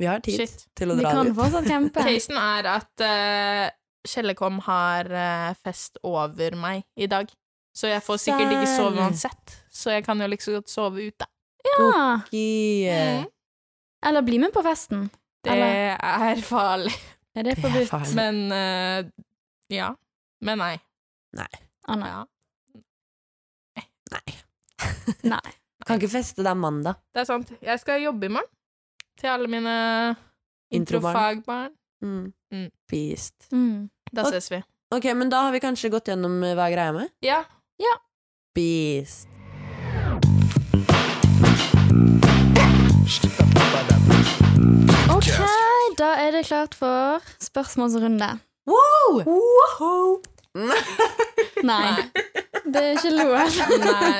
Speaker 2: Vi har tid
Speaker 1: Shit.
Speaker 2: til å
Speaker 3: Vi
Speaker 2: dra
Speaker 3: kan
Speaker 2: det ut.
Speaker 3: fortsatt campe.
Speaker 1: Casen er at eh, Kjellekom har eh, fest over meg i dag. Så jeg får sikkert ikke sove
Speaker 2: Serr.
Speaker 1: uansett. Så jeg kan jo like så godt sove ute.
Speaker 3: Ja.
Speaker 2: Yeah.
Speaker 1: Mm.
Speaker 3: Eller bli med på festen.
Speaker 1: Det er farlig.
Speaker 3: Er det
Speaker 2: Det er
Speaker 3: forbudt?
Speaker 2: farlig.
Speaker 1: Men eh, ja. Men nei.
Speaker 3: Å nei.
Speaker 1: Ja.
Speaker 2: Nei.
Speaker 3: nei.
Speaker 2: Kan ikke feste, det er mandag.
Speaker 1: Det er sant. Jeg skal jobbe i morgen. Til alle mine
Speaker 2: Introbarn.
Speaker 1: introfagbarn.
Speaker 2: Mm.
Speaker 1: Mm.
Speaker 2: Beast.
Speaker 3: Mm.
Speaker 1: Da
Speaker 2: Ok.
Speaker 1: ses vi.
Speaker 2: Ok, men da har vi kanskje gått gjennom eh, hva jeg greier med.
Speaker 1: Ja.
Speaker 2: Beast.
Speaker 3: Ok, da er det klart for spørsmålsrunde.
Speaker 2: Wow!
Speaker 3: Nei,
Speaker 1: Nei.
Speaker 3: det er ikke lov.
Speaker 1: nei.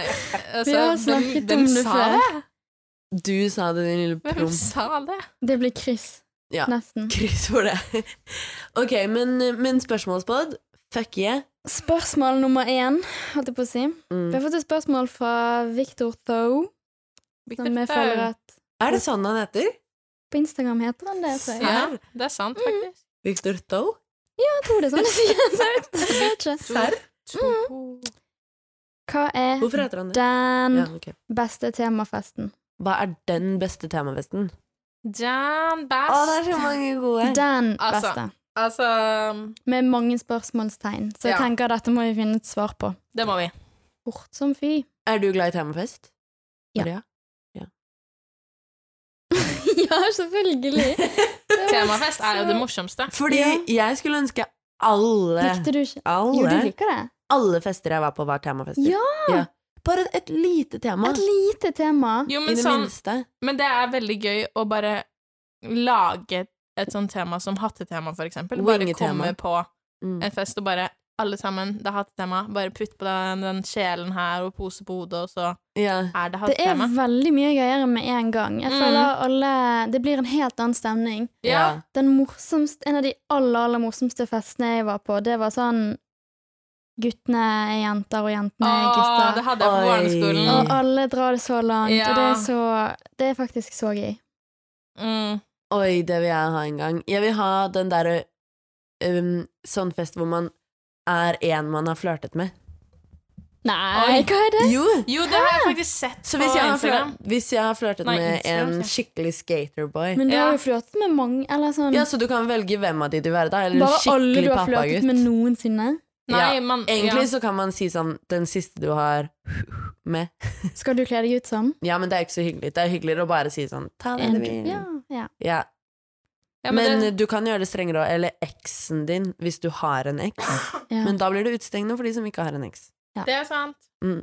Speaker 3: Vi har snakket om det
Speaker 1: altså, sa
Speaker 3: før.
Speaker 1: det?
Speaker 2: Du sa det, din lille
Speaker 1: Hvem
Speaker 2: promp.
Speaker 1: sa det?
Speaker 3: Det blir kryss.
Speaker 2: Ja.
Speaker 3: Nesten.
Speaker 2: Kryss for det. Ok, men, eh, men spørsmålspod. Fuck yeah.
Speaker 3: Spørsmål nummer én, holdt jeg på å si. Vi
Speaker 2: Mm.
Speaker 3: har fått et spørsmål fra Victor Thoe, som jeg føler at
Speaker 2: Er det sånn han heter?
Speaker 3: på Instagram heter han det, tror jeg.
Speaker 1: Ja, det er
Speaker 3: Mm.
Speaker 1: sant, faktisk.
Speaker 2: Victor Thoe?
Speaker 3: Jeg tror det er sånn det sies ut. Jeg vet ikke.
Speaker 2: Serr?
Speaker 3: Mm.
Speaker 1: To-
Speaker 3: Hva er
Speaker 2: Hvorfor heter han det?
Speaker 3: den
Speaker 2: Ja, ok.
Speaker 3: beste temafesten?
Speaker 2: Hva er den beste temafesten?
Speaker 1: Jan
Speaker 2: Å, det er
Speaker 1: Bass.
Speaker 2: så mange gode!
Speaker 3: Den
Speaker 1: Altså,
Speaker 3: beste.
Speaker 1: Altså,
Speaker 3: Med mange spørsmålstegn. Så jeg
Speaker 1: Ja.
Speaker 3: tenker dette må vi finne et svar på.
Speaker 1: det må vi.
Speaker 3: Fort som fy.
Speaker 2: Er du glad i temafest?
Speaker 3: Ja.
Speaker 2: Maria?
Speaker 3: ja, selvfølgelig!
Speaker 1: Temafest er jo det morsomste.
Speaker 2: Fordi
Speaker 3: Ja.
Speaker 2: jeg skulle ønske alle
Speaker 3: Likte du ikke Jo, du
Speaker 2: alle,
Speaker 3: liker det.
Speaker 2: alle fester jeg var på, var temafester.
Speaker 3: Ja!
Speaker 2: Bare et, et lite tema.
Speaker 3: Et lite tema.
Speaker 1: Jo,
Speaker 2: I
Speaker 1: men,
Speaker 2: det
Speaker 1: sånn,
Speaker 2: minste.
Speaker 1: men det er veldig gøy å bare lage et sånt tema som hattetema, for eksempel. Bare
Speaker 2: Wingetema.
Speaker 1: komme på
Speaker 2: Mm.
Speaker 1: en fest og bare alle sammen, det er hattetema. Bare putt på den, den kjelen her og pose på hodet, og så
Speaker 2: Ja.
Speaker 1: er det
Speaker 3: Det er
Speaker 1: hattetema.
Speaker 3: veldig mye gøyere med en gang. Jeg
Speaker 1: Mm.
Speaker 3: føler alle Det blir en helt annen stemning.
Speaker 1: Ja.
Speaker 3: Den morsomste, en av de aller, aller morsomste festene jeg var på, det var sånn Guttene er jenter, og jentene er
Speaker 1: Åh, det
Speaker 3: gutter.
Speaker 1: hadde jeg på
Speaker 2: Oi.
Speaker 1: barneskolen.
Speaker 3: Og alle drar det så langt,
Speaker 1: Ja.
Speaker 3: og det er så Det er faktisk så gøy.
Speaker 1: Mm.
Speaker 2: Oi, det vil jeg ha en gang. Jeg vil ha den derre um, sånn fest hvor man er en man har flørtet med.
Speaker 3: Nei,
Speaker 1: Oi.
Speaker 3: hva er det?
Speaker 2: Jo!
Speaker 1: Jo, det har jeg faktisk sett
Speaker 2: Ah. Så
Speaker 1: på
Speaker 2: hvis jeg har,
Speaker 1: Instagram.
Speaker 2: flør- hvis jeg har flørtet
Speaker 1: Nei,
Speaker 2: med
Speaker 1: Instagram,
Speaker 2: en
Speaker 1: sier
Speaker 2: skikkelig skaterboy
Speaker 3: Men du
Speaker 1: Ja.
Speaker 3: har jo flørtet med mange, eller sånn
Speaker 2: Ja, så du kan velge hvem av de du vil være, da. Eller en
Speaker 3: Bare alle du
Speaker 2: skikkelig
Speaker 3: har flørtet
Speaker 2: pappagutt.
Speaker 3: med noensinne.
Speaker 1: Nei, man,
Speaker 2: Egentlig
Speaker 1: ja.
Speaker 2: så kan man si sånn Den siste du har med
Speaker 3: Skal du kle deg ut som?
Speaker 2: Ja, men det er ikke så hyggelig Det er hyggeligere å bare si sånn Ta det du
Speaker 3: En,
Speaker 2: vil
Speaker 3: ja, ja.
Speaker 2: Ja.
Speaker 1: Ja,
Speaker 2: men
Speaker 1: det,
Speaker 2: du kan gjøre det strengere også, eller eksen din, hvis du har en eks.
Speaker 3: Ja.
Speaker 2: Men da blir det utestengende for de som ikke har en eks.
Speaker 1: det er sant.
Speaker 2: Mm.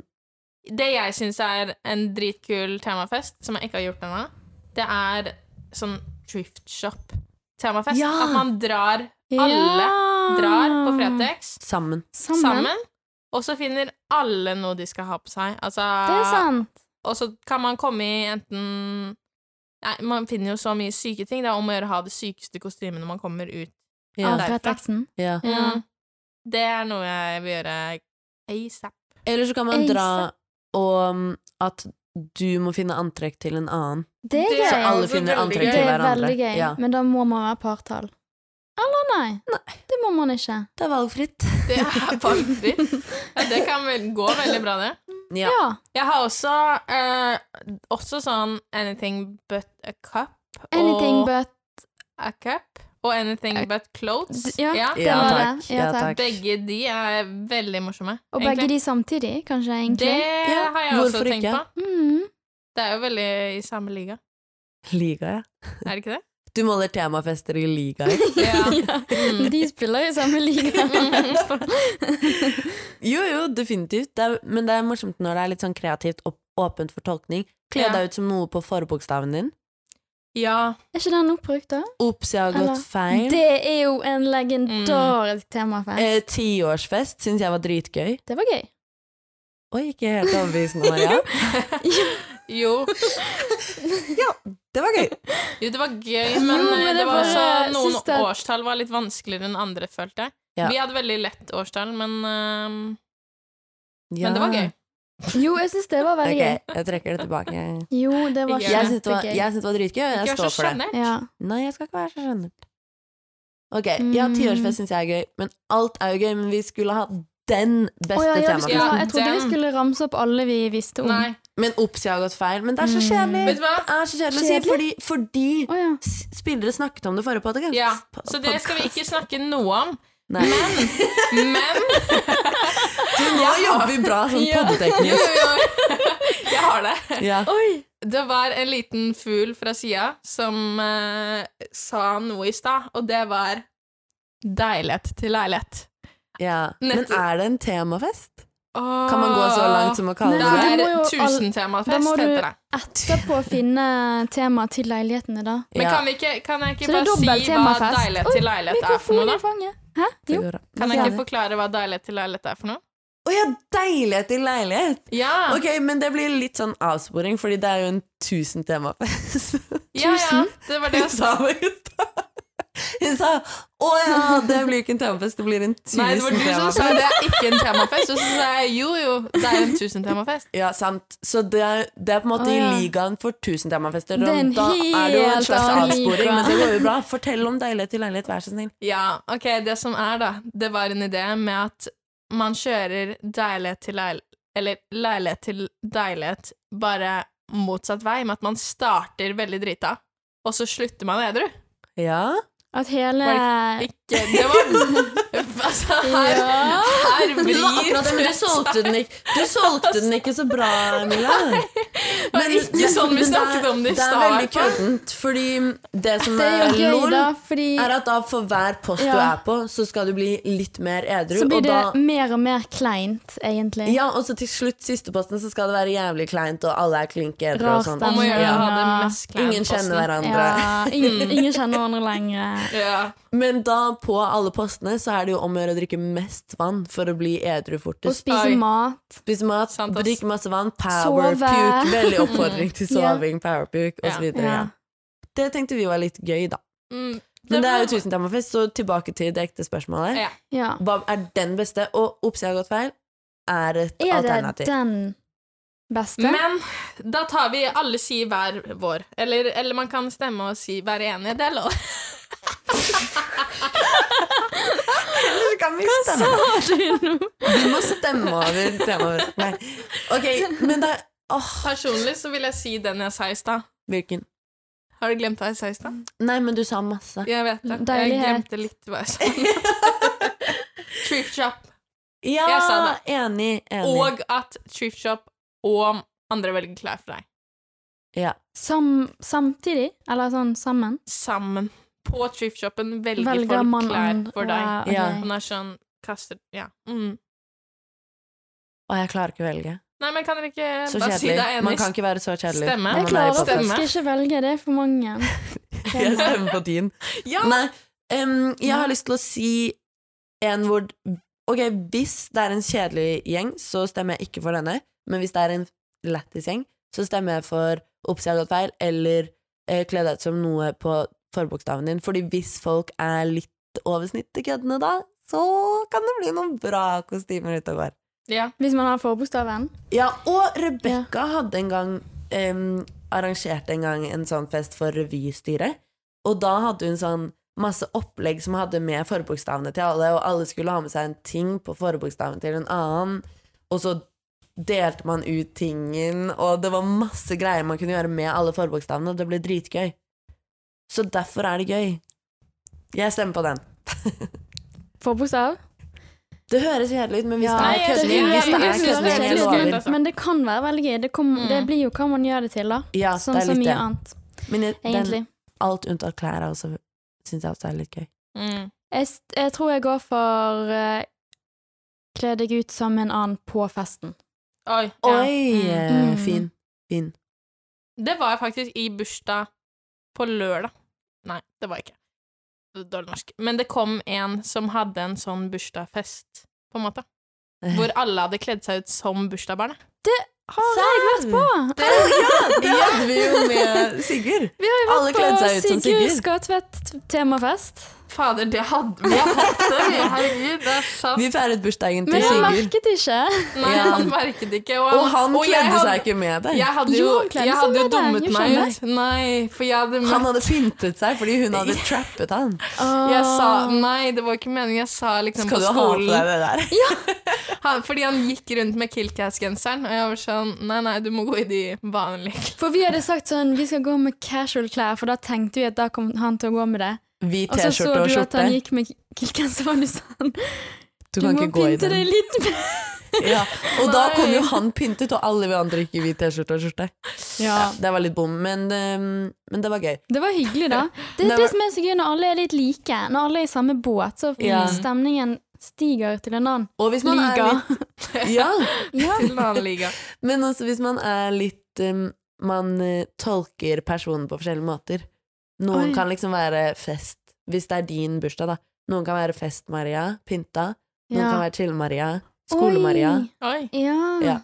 Speaker 1: Det jeg syns er en dritkul temafest, som jeg ikke har gjort ennå, det er sånn thrift shop-temafest.
Speaker 2: Ja! Ah.
Speaker 1: At man drar, alle
Speaker 3: Ja.
Speaker 1: drar på Fretex
Speaker 2: Sammen.
Speaker 3: Sammen.
Speaker 1: sammen. og så finner alle noe de skal ha på seg. Altså,
Speaker 3: Det er sant.
Speaker 1: Og så kan man komme i enten Nei, man finner jo så mye syke ting. Det er om å gjøre å ha det sykeste kostymet når man kommer ut.
Speaker 2: Ja.
Speaker 3: Av
Speaker 1: Derfra.
Speaker 3: Fretexen.
Speaker 2: Ja.
Speaker 3: Ja.
Speaker 1: Det er noe jeg vil gjøre asap.
Speaker 2: Eller så kan man dra og um, at du må finne antrekk til en annen.
Speaker 3: Det er
Speaker 1: Det
Speaker 3: gøy.
Speaker 2: Så
Speaker 1: er
Speaker 2: alle
Speaker 1: også
Speaker 2: finner
Speaker 1: veldig
Speaker 2: antrekk
Speaker 1: gøy.
Speaker 3: Det
Speaker 2: til
Speaker 3: er
Speaker 2: hverandre.
Speaker 3: veldig gøy,
Speaker 2: Ja.
Speaker 3: men da må man være partall. Eller nei. Det må man ikke.
Speaker 2: Det er valgfritt.
Speaker 1: Det er valgfritt. Ja, det kan vel gå veldig bra, det.
Speaker 2: Ja.
Speaker 3: Ja.
Speaker 1: Jeg har også, eh, også sånn anything but a cup.
Speaker 3: Anything
Speaker 1: og
Speaker 3: but
Speaker 1: a cup. Og anything but clothes.
Speaker 3: Ja, det
Speaker 2: Ja,
Speaker 3: var
Speaker 2: takk.
Speaker 3: det. Ja,
Speaker 2: Ja,
Speaker 3: takk.
Speaker 1: Begge de er veldig morsomme.
Speaker 3: Og begge de samtidig, kanskje, egentlig.
Speaker 1: Det
Speaker 2: Ja,
Speaker 1: har jeg også
Speaker 2: hvorfor
Speaker 1: tenkt
Speaker 2: ikke?
Speaker 1: på.
Speaker 3: Mm.
Speaker 1: Det er jo veldig i samme liga,
Speaker 2: Liga, ja.
Speaker 1: er det ikke det?
Speaker 2: Du måler temafester i ligaer.
Speaker 1: Ja.
Speaker 3: Men De spiller i samme liga.
Speaker 1: Mm.
Speaker 2: Jo, jo, definitivt. Det er, men det er morsomt når det er litt sånn kreativt og åpent for tolkning. Kle
Speaker 1: Ja.
Speaker 2: deg ut som noe på forbokstaven din.
Speaker 1: ja.
Speaker 3: er ikke den oppbrukt, da?
Speaker 2: Ops, jeg har
Speaker 3: Eller-
Speaker 2: gått feil.
Speaker 3: Det er jo en
Speaker 1: Mm.
Speaker 3: legendarisk temafest.
Speaker 2: Eh, Tiårsfest syns jeg var dritgøy.
Speaker 3: Det var gøy.
Speaker 2: Oi, ikke helt overbevisende, Maria.
Speaker 1: Jo.
Speaker 2: Det var gøy.
Speaker 1: jo, det var gøy, men,
Speaker 3: Jo, men
Speaker 1: eh, det
Speaker 3: jeg
Speaker 1: var også
Speaker 3: bare
Speaker 1: noen
Speaker 3: syns det-
Speaker 1: årstall var litt vanskeligere enn andre, følte jeg.
Speaker 2: Ja.
Speaker 1: Vi hadde veldig lett årstall, men, eh, men det var gøy.
Speaker 3: Jo, jeg syns det var veldig
Speaker 2: Ok, jeg trekker det tilbake.
Speaker 3: gøy. Jo, det var
Speaker 1: Jeg
Speaker 2: Jeg syns det var,
Speaker 3: kjempegøy.
Speaker 2: jeg syns det var dritgøy, og jeg
Speaker 1: Ikke vær
Speaker 2: står
Speaker 1: så
Speaker 2: for det.
Speaker 1: sjenert.
Speaker 3: Ja.
Speaker 2: Nei, jeg skal ikke være så skjønnert. Ok, ja, tiårsfest syns jeg er gøy, men alt er jo gøy. Men vi skulle ha den beste
Speaker 3: Å, ja, ja, vi
Speaker 2: temafesten.
Speaker 3: skulle,
Speaker 1: ha-
Speaker 3: jeg trodde vi
Speaker 1: Den.
Speaker 3: skulle ramse opp alle vi visste om.
Speaker 1: Nei.
Speaker 2: Men ops, jeg har gått feil. Men det er så
Speaker 1: Vet
Speaker 3: Mm.
Speaker 2: kjedelig!
Speaker 1: du hva?
Speaker 2: Det er så kjedelig å si,
Speaker 3: Kjedelig?
Speaker 2: fordi, fordi
Speaker 3: Å ja.
Speaker 2: s- spillere snakket om det forrige podcast.
Speaker 1: Ja, så det skal vi ikke snakke noe om.
Speaker 2: Nei.
Speaker 1: Men
Speaker 2: Du, nå jobber vi bra sånn
Speaker 3: Ja.
Speaker 1: jo,
Speaker 2: poddeteknisk.
Speaker 1: jo, jeg har det.
Speaker 2: Ja.
Speaker 1: Det var en liten fugl fra sida som eh, sa noe i stad, og det var deilighet til leilighet.
Speaker 2: Ja. Men
Speaker 1: Nettopp.
Speaker 2: er det en temafest? Kan man gå så langt som å kalle
Speaker 1: Det
Speaker 2: det det?
Speaker 1: er
Speaker 3: Nei. Du må jo all- Da
Speaker 1: tusentemafest,
Speaker 3: må du-
Speaker 1: heter det.
Speaker 3: Etterpå finne tema til leilighetene, da.
Speaker 1: Men
Speaker 2: Ja,
Speaker 1: kan, vi ikke, kan jeg ikke
Speaker 3: Så det er
Speaker 1: bare si
Speaker 3: dobbelt
Speaker 1: hva
Speaker 3: temafest.
Speaker 1: deilighet
Speaker 3: Oi,
Speaker 1: til leilighet er for
Speaker 3: Mikrofon
Speaker 1: noe, da?
Speaker 3: i fanget. Hæ?
Speaker 2: det
Speaker 3: Jo.
Speaker 2: går bra.
Speaker 1: Kan jeg ikke
Speaker 2: Ja.
Speaker 1: forklare hva deilighet til leilighet er for noe?
Speaker 2: Å ja, deilighet i leilighet!
Speaker 1: Ja!
Speaker 2: Ok, men det blir litt sånn avsporing, fordi det er jo en tusen temafest.
Speaker 1: ja, ja,
Speaker 3: tusen.
Speaker 1: det var det
Speaker 2: Hun
Speaker 1: jeg sa.
Speaker 2: sa hva hun sa. Hun sa 'Å ja, det blir ikke en temafest, det blir en
Speaker 1: Nei, det var
Speaker 2: tusen
Speaker 1: du som
Speaker 2: temafest'.
Speaker 1: sa det er ikke en temafest. Og så sa jeg jo, jo, det er en tusentemafest.
Speaker 2: Ja, sant. Så det er, det er på en måte
Speaker 3: Å, ja.
Speaker 2: i ligaen for tusen temafester.
Speaker 3: Det er en
Speaker 2: Og da er det jo en
Speaker 3: helt
Speaker 2: slags
Speaker 3: annen
Speaker 2: avsporing,
Speaker 3: liga.
Speaker 2: men det går jo bra. Fortell om deilighet i leilighet, vær så snill.
Speaker 1: Ja, ok, det som er, da, det var en idé med at man kjører deilighet til leilighet Eller leilighet til deilighet bare motsatt vei, med at man starter veldig drita, og så slutter man edru.
Speaker 2: Ja.
Speaker 3: At hele
Speaker 1: Ikke Det var Altså, her,
Speaker 3: Ja.
Speaker 1: her blir
Speaker 2: du solgte den ikke, du solgte den ikke så bra, Mila.
Speaker 1: Det var ikke sånn vi
Speaker 2: men det er-
Speaker 1: snakket om det i
Speaker 2: Det er veldig
Speaker 1: stad.
Speaker 2: køddent, fordi det som
Speaker 3: Det er
Speaker 2: er
Speaker 3: jo gøy,
Speaker 2: lol,
Speaker 3: da, fordi
Speaker 2: er at da for hver post du
Speaker 3: Ja.
Speaker 2: er på, så skal du bli litt mer edru.
Speaker 3: så blir
Speaker 2: og
Speaker 3: det
Speaker 2: da,
Speaker 3: mer og mer kleint, egentlig.
Speaker 2: ja, og så til slutt, siste posten, så skal det være jævlig kleint, og alle er klink edru
Speaker 3: Rar
Speaker 2: og sånn.
Speaker 1: Om å gjøre å ha det
Speaker 3: Ja.
Speaker 1: mest kleine
Speaker 2: eh, Ingen
Speaker 1: posten.
Speaker 2: kjenner hverandre.
Speaker 3: Ja,
Speaker 1: Mm.
Speaker 3: ingen, ingen kjenner hverandre lenger.
Speaker 1: Ja.
Speaker 2: Men da, på alle postene, så er det jo om å gjøre å drikke mest vann for å bli edru
Speaker 3: Å
Speaker 2: fortest.
Speaker 3: spise
Speaker 1: Oi.
Speaker 3: mat.
Speaker 2: Spise mat,
Speaker 1: Sant, ass.
Speaker 2: drikke masse vann, power
Speaker 3: Sove.
Speaker 2: puke. Veldig oppfordring til
Speaker 3: Ja.
Speaker 2: soving, power puke,
Speaker 1: Ja.
Speaker 2: osv. Ja.
Speaker 3: Ja.
Speaker 2: Det tenkte vi var litt gøy, da.
Speaker 1: Mm,
Speaker 2: Men det er
Speaker 1: var-
Speaker 2: jo Tusentemmerfest, så tilbake til det ekte spørsmålet.
Speaker 1: Ja.
Speaker 3: ja.
Speaker 2: Hva er den beste? Og ops, jeg har gått feil. Er et
Speaker 3: Er det
Speaker 2: alternativ.
Speaker 3: den beste?
Speaker 1: Men da tar vi alle si hver vår. Eller, eller man kan stemme og si være enige. Det er lov.
Speaker 2: Eller kan vi stemme? Vi må stemme over temaet. Nei. Ok, men det er Åh,
Speaker 1: Personlig så vil jeg si den jeg sa i stad.
Speaker 2: hvilken?
Speaker 1: Har du glemt hva jeg sa i stad?
Speaker 2: Nei, men du sa masse.
Speaker 1: Jeg vet det. Jeg
Speaker 3: Deilighet.
Speaker 1: glemte litt hva jeg sa. Thrift shop.
Speaker 2: Ja,
Speaker 1: Jeg sa det.
Speaker 2: enig. enig.
Speaker 1: Og at thrift shop og andre velger klær for deg.
Speaker 2: ja.
Speaker 3: Sam, samtidig? Eller sånn sammen?
Speaker 1: Sammen. på thrift-shoppen velger,
Speaker 3: Velger
Speaker 1: folk
Speaker 3: man
Speaker 1: klær
Speaker 3: andre-
Speaker 1: for deg.
Speaker 3: Wow,
Speaker 2: Ja.
Speaker 3: ok.
Speaker 1: Han er sånn kaster Ja. Mm.
Speaker 2: Og jeg klarer ikke å velge.
Speaker 1: Nei, men kan dere ikke
Speaker 2: Så
Speaker 1: bare si
Speaker 2: kjedelig.
Speaker 1: deg enig?
Speaker 2: Man kan ikke være så kjedelig.
Speaker 1: Stemme.
Speaker 2: når man
Speaker 3: Jeg
Speaker 2: er i
Speaker 3: klarer
Speaker 1: å
Speaker 2: podcast.
Speaker 1: stemme.
Speaker 3: faktisk ikke velge, det er for mange.
Speaker 2: Jeg stemmer på din.
Speaker 1: Ja!
Speaker 2: Nei, em, jeg har lyst til å si en hvor Ok, hvis det er en kjedelig gjeng, så stemmer jeg ikke for denne. Men hvis det er en lættis gjeng, så stemmer jeg for Oppsida gått feil eller eh, Kle deg ut som noe på forbokstaven din. Fordi hvis folk er litt over snittet køddende da, så kan det bli noen bra kostymer ute og går.
Speaker 1: ja.
Speaker 3: Hvis man har forbokstaven.
Speaker 2: Ja, og Rebekka hadde en gang em, arrangert en gang en sånn fest for revystyret, og da hadde hun sånn masse opplegg som hadde med forbokstavene til alle, og alle skulle ha med seg en ting på forbokstaven til en annen, og så delte man ut tingen, og det var masse greier man kunne gjøre med alle forbokstavene, og det ble dritgøy. Så derfor er det gøy. Jeg stemmer på den.
Speaker 3: Forbokstav?
Speaker 2: Det høres kjedelig ut, men hvis
Speaker 3: Ja.
Speaker 2: det
Speaker 1: Nei,
Speaker 2: er
Speaker 1: jeg
Speaker 2: kødding,
Speaker 1: synes-
Speaker 2: hvis det
Speaker 1: jeg
Speaker 2: er
Speaker 1: synes det
Speaker 2: kødding,
Speaker 1: er
Speaker 2: jeg
Speaker 1: litt
Speaker 2: lover.
Speaker 1: gøy. altså.
Speaker 3: Men det kan være veldig gøy. Det, kom, det
Speaker 1: Mm.
Speaker 3: blir jo hva man gjør det til, da.
Speaker 2: Ja,
Speaker 3: Sånn
Speaker 2: det er
Speaker 3: som
Speaker 2: litt
Speaker 3: mye
Speaker 2: det.
Speaker 3: annet,
Speaker 2: Men jeg- den,
Speaker 3: egentlig.
Speaker 2: alt unntatt klær er også Synes jeg også er litt gøy
Speaker 1: Mm.
Speaker 3: Jeg, s- jeg tror jeg går for eh, kle deg ut som en annen på festen.
Speaker 1: Oi. Ja.
Speaker 2: Oi,
Speaker 1: Mm.
Speaker 2: eh,
Speaker 3: Mm.
Speaker 2: fin, fin
Speaker 1: Det var jeg faktisk i bursdag på lørdag. Nei, det var jeg ikke. Dårlig norsk. Men det kom en som hadde en sånn bursdagsfest, på en måte. Hvor alle hadde kledd seg ut som bursdagsbarnet.
Speaker 3: Har jeg vært på?
Speaker 2: Det hadde vi jo med Sigurd
Speaker 3: Vi har jo vært
Speaker 2: Alle kledde seg ut som
Speaker 3: Sigurd
Speaker 2: Sigurd.
Speaker 3: Skatvedt temafest.
Speaker 1: Fader, det hadde vi! har hatt det, vi. Herregud, det er sant.
Speaker 2: Vi feiret bursdagen
Speaker 3: Men
Speaker 2: til
Speaker 3: jeg
Speaker 2: Sigurd
Speaker 3: merket ikke.
Speaker 1: Nei,
Speaker 2: Ja.
Speaker 1: han merket ikke. Og,
Speaker 2: Og han
Speaker 1: jeg
Speaker 2: kledde
Speaker 1: hadde-
Speaker 2: seg ikke med deg
Speaker 1: Jeg hadde jo,
Speaker 3: Jo, han kledde
Speaker 1: jeg
Speaker 3: seg
Speaker 1: hadde jo
Speaker 3: med deg,
Speaker 1: dummet
Speaker 3: jeg
Speaker 1: meg
Speaker 3: skjønner.
Speaker 1: ut. Nei, for jeg hadde
Speaker 2: Han hadde pyntet seg fordi hun hadde trappet han
Speaker 1: Jeg sa Nei, det var ikke meningen. Jeg sa liksom
Speaker 2: Skal du
Speaker 1: på
Speaker 2: ha på
Speaker 1: skolen
Speaker 2: deg det der?
Speaker 1: han, Fordi han gikk rundt med Killcast-genseren, og jeg var sånn Nei, nei, du må gå i de vanlige klærne.
Speaker 3: For vi hadde sagt sånn, vi skal gå med casual klær, for da tenkte vi at da kom han til å gå med det.
Speaker 2: Hvit
Speaker 3: Og så Altså, så
Speaker 2: t-skjorte og
Speaker 3: du at
Speaker 2: skjorte
Speaker 3: han gikk med kiltgenser, og du sa han,
Speaker 2: Du
Speaker 3: du
Speaker 2: kan
Speaker 3: må
Speaker 2: ikke gå i
Speaker 3: pynte
Speaker 2: den
Speaker 3: deg litt mer.
Speaker 2: ja. Og da kom jo
Speaker 1: Nei.
Speaker 2: han pyntet Og alle vi andre gikk i hvit t-skjorte og skjorte
Speaker 3: Ja.
Speaker 2: ja, Det var litt bom, men, eh, men det var gøy
Speaker 3: Det var hyggelig, da.
Speaker 2: Det
Speaker 3: Det er
Speaker 2: var-
Speaker 3: det, som er så gøy når alle er litt like. Når alle er i samme båt, så
Speaker 2: Ja.
Speaker 3: stemningen stiger til en annen.
Speaker 2: Og hvis man er
Speaker 3: Liga.
Speaker 2: litt Ja
Speaker 3: Ja.
Speaker 1: til en annen liga.
Speaker 2: Men også hvis man er litt um, Man eh, tolker personen på forskjellige måter. Noen
Speaker 3: Oi.
Speaker 2: kan liksom være fest, hvis det er din bursdag, da. Noen kan være Fest-Maria, pynta. Noen kan være Chill-Maria, Skole-Maria.
Speaker 3: Oi.
Speaker 1: Oi.
Speaker 3: Ja.
Speaker 2: Ja.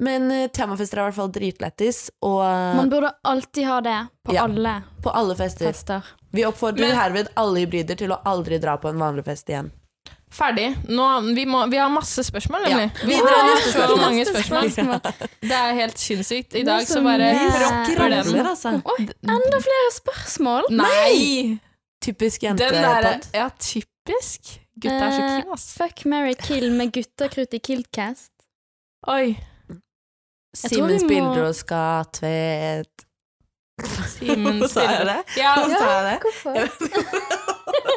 Speaker 2: Men eh, temafester er i hvert fall dritlættis, og eh,
Speaker 3: Man burde alltid ha det på
Speaker 2: Ja.
Speaker 3: alle
Speaker 2: på alle fester.
Speaker 3: fester.
Speaker 2: Vi oppfordrer
Speaker 1: Men-
Speaker 2: herved alle hybrider til å aldri dra på en vanlig fest igjen.
Speaker 1: Ferdig. Nå, vi, må, vi har masse spørsmål, nemlig. Vi
Speaker 2: Ja. Videre
Speaker 1: har
Speaker 2: neste
Speaker 1: så
Speaker 2: spørsmål.
Speaker 1: mange spørsmål. Det er helt sinnssykt. I dag
Speaker 3: Det er
Speaker 1: så
Speaker 3: så
Speaker 1: bare
Speaker 3: mye.
Speaker 2: Vi
Speaker 1: propper den.
Speaker 2: skravler, altså.
Speaker 3: Oi, enda flere spørsmål!
Speaker 1: Nei!
Speaker 2: Typisk
Speaker 1: Den derre
Speaker 2: jentepod.
Speaker 1: Ja, typisk. Gutta er så
Speaker 3: Eh,
Speaker 1: keen, ass.
Speaker 3: Fuck, marry, kill med guttekrutt i Kiltcast.
Speaker 1: Oi.
Speaker 3: Jeg tror vi
Speaker 2: Simen
Speaker 3: må-
Speaker 2: Spildre og Skatvedt.
Speaker 1: Simen
Speaker 2: Sa jeg
Speaker 1: spiller
Speaker 2: det?
Speaker 1: Ja,
Speaker 2: Sa jeg det?
Speaker 3: Hvorfor?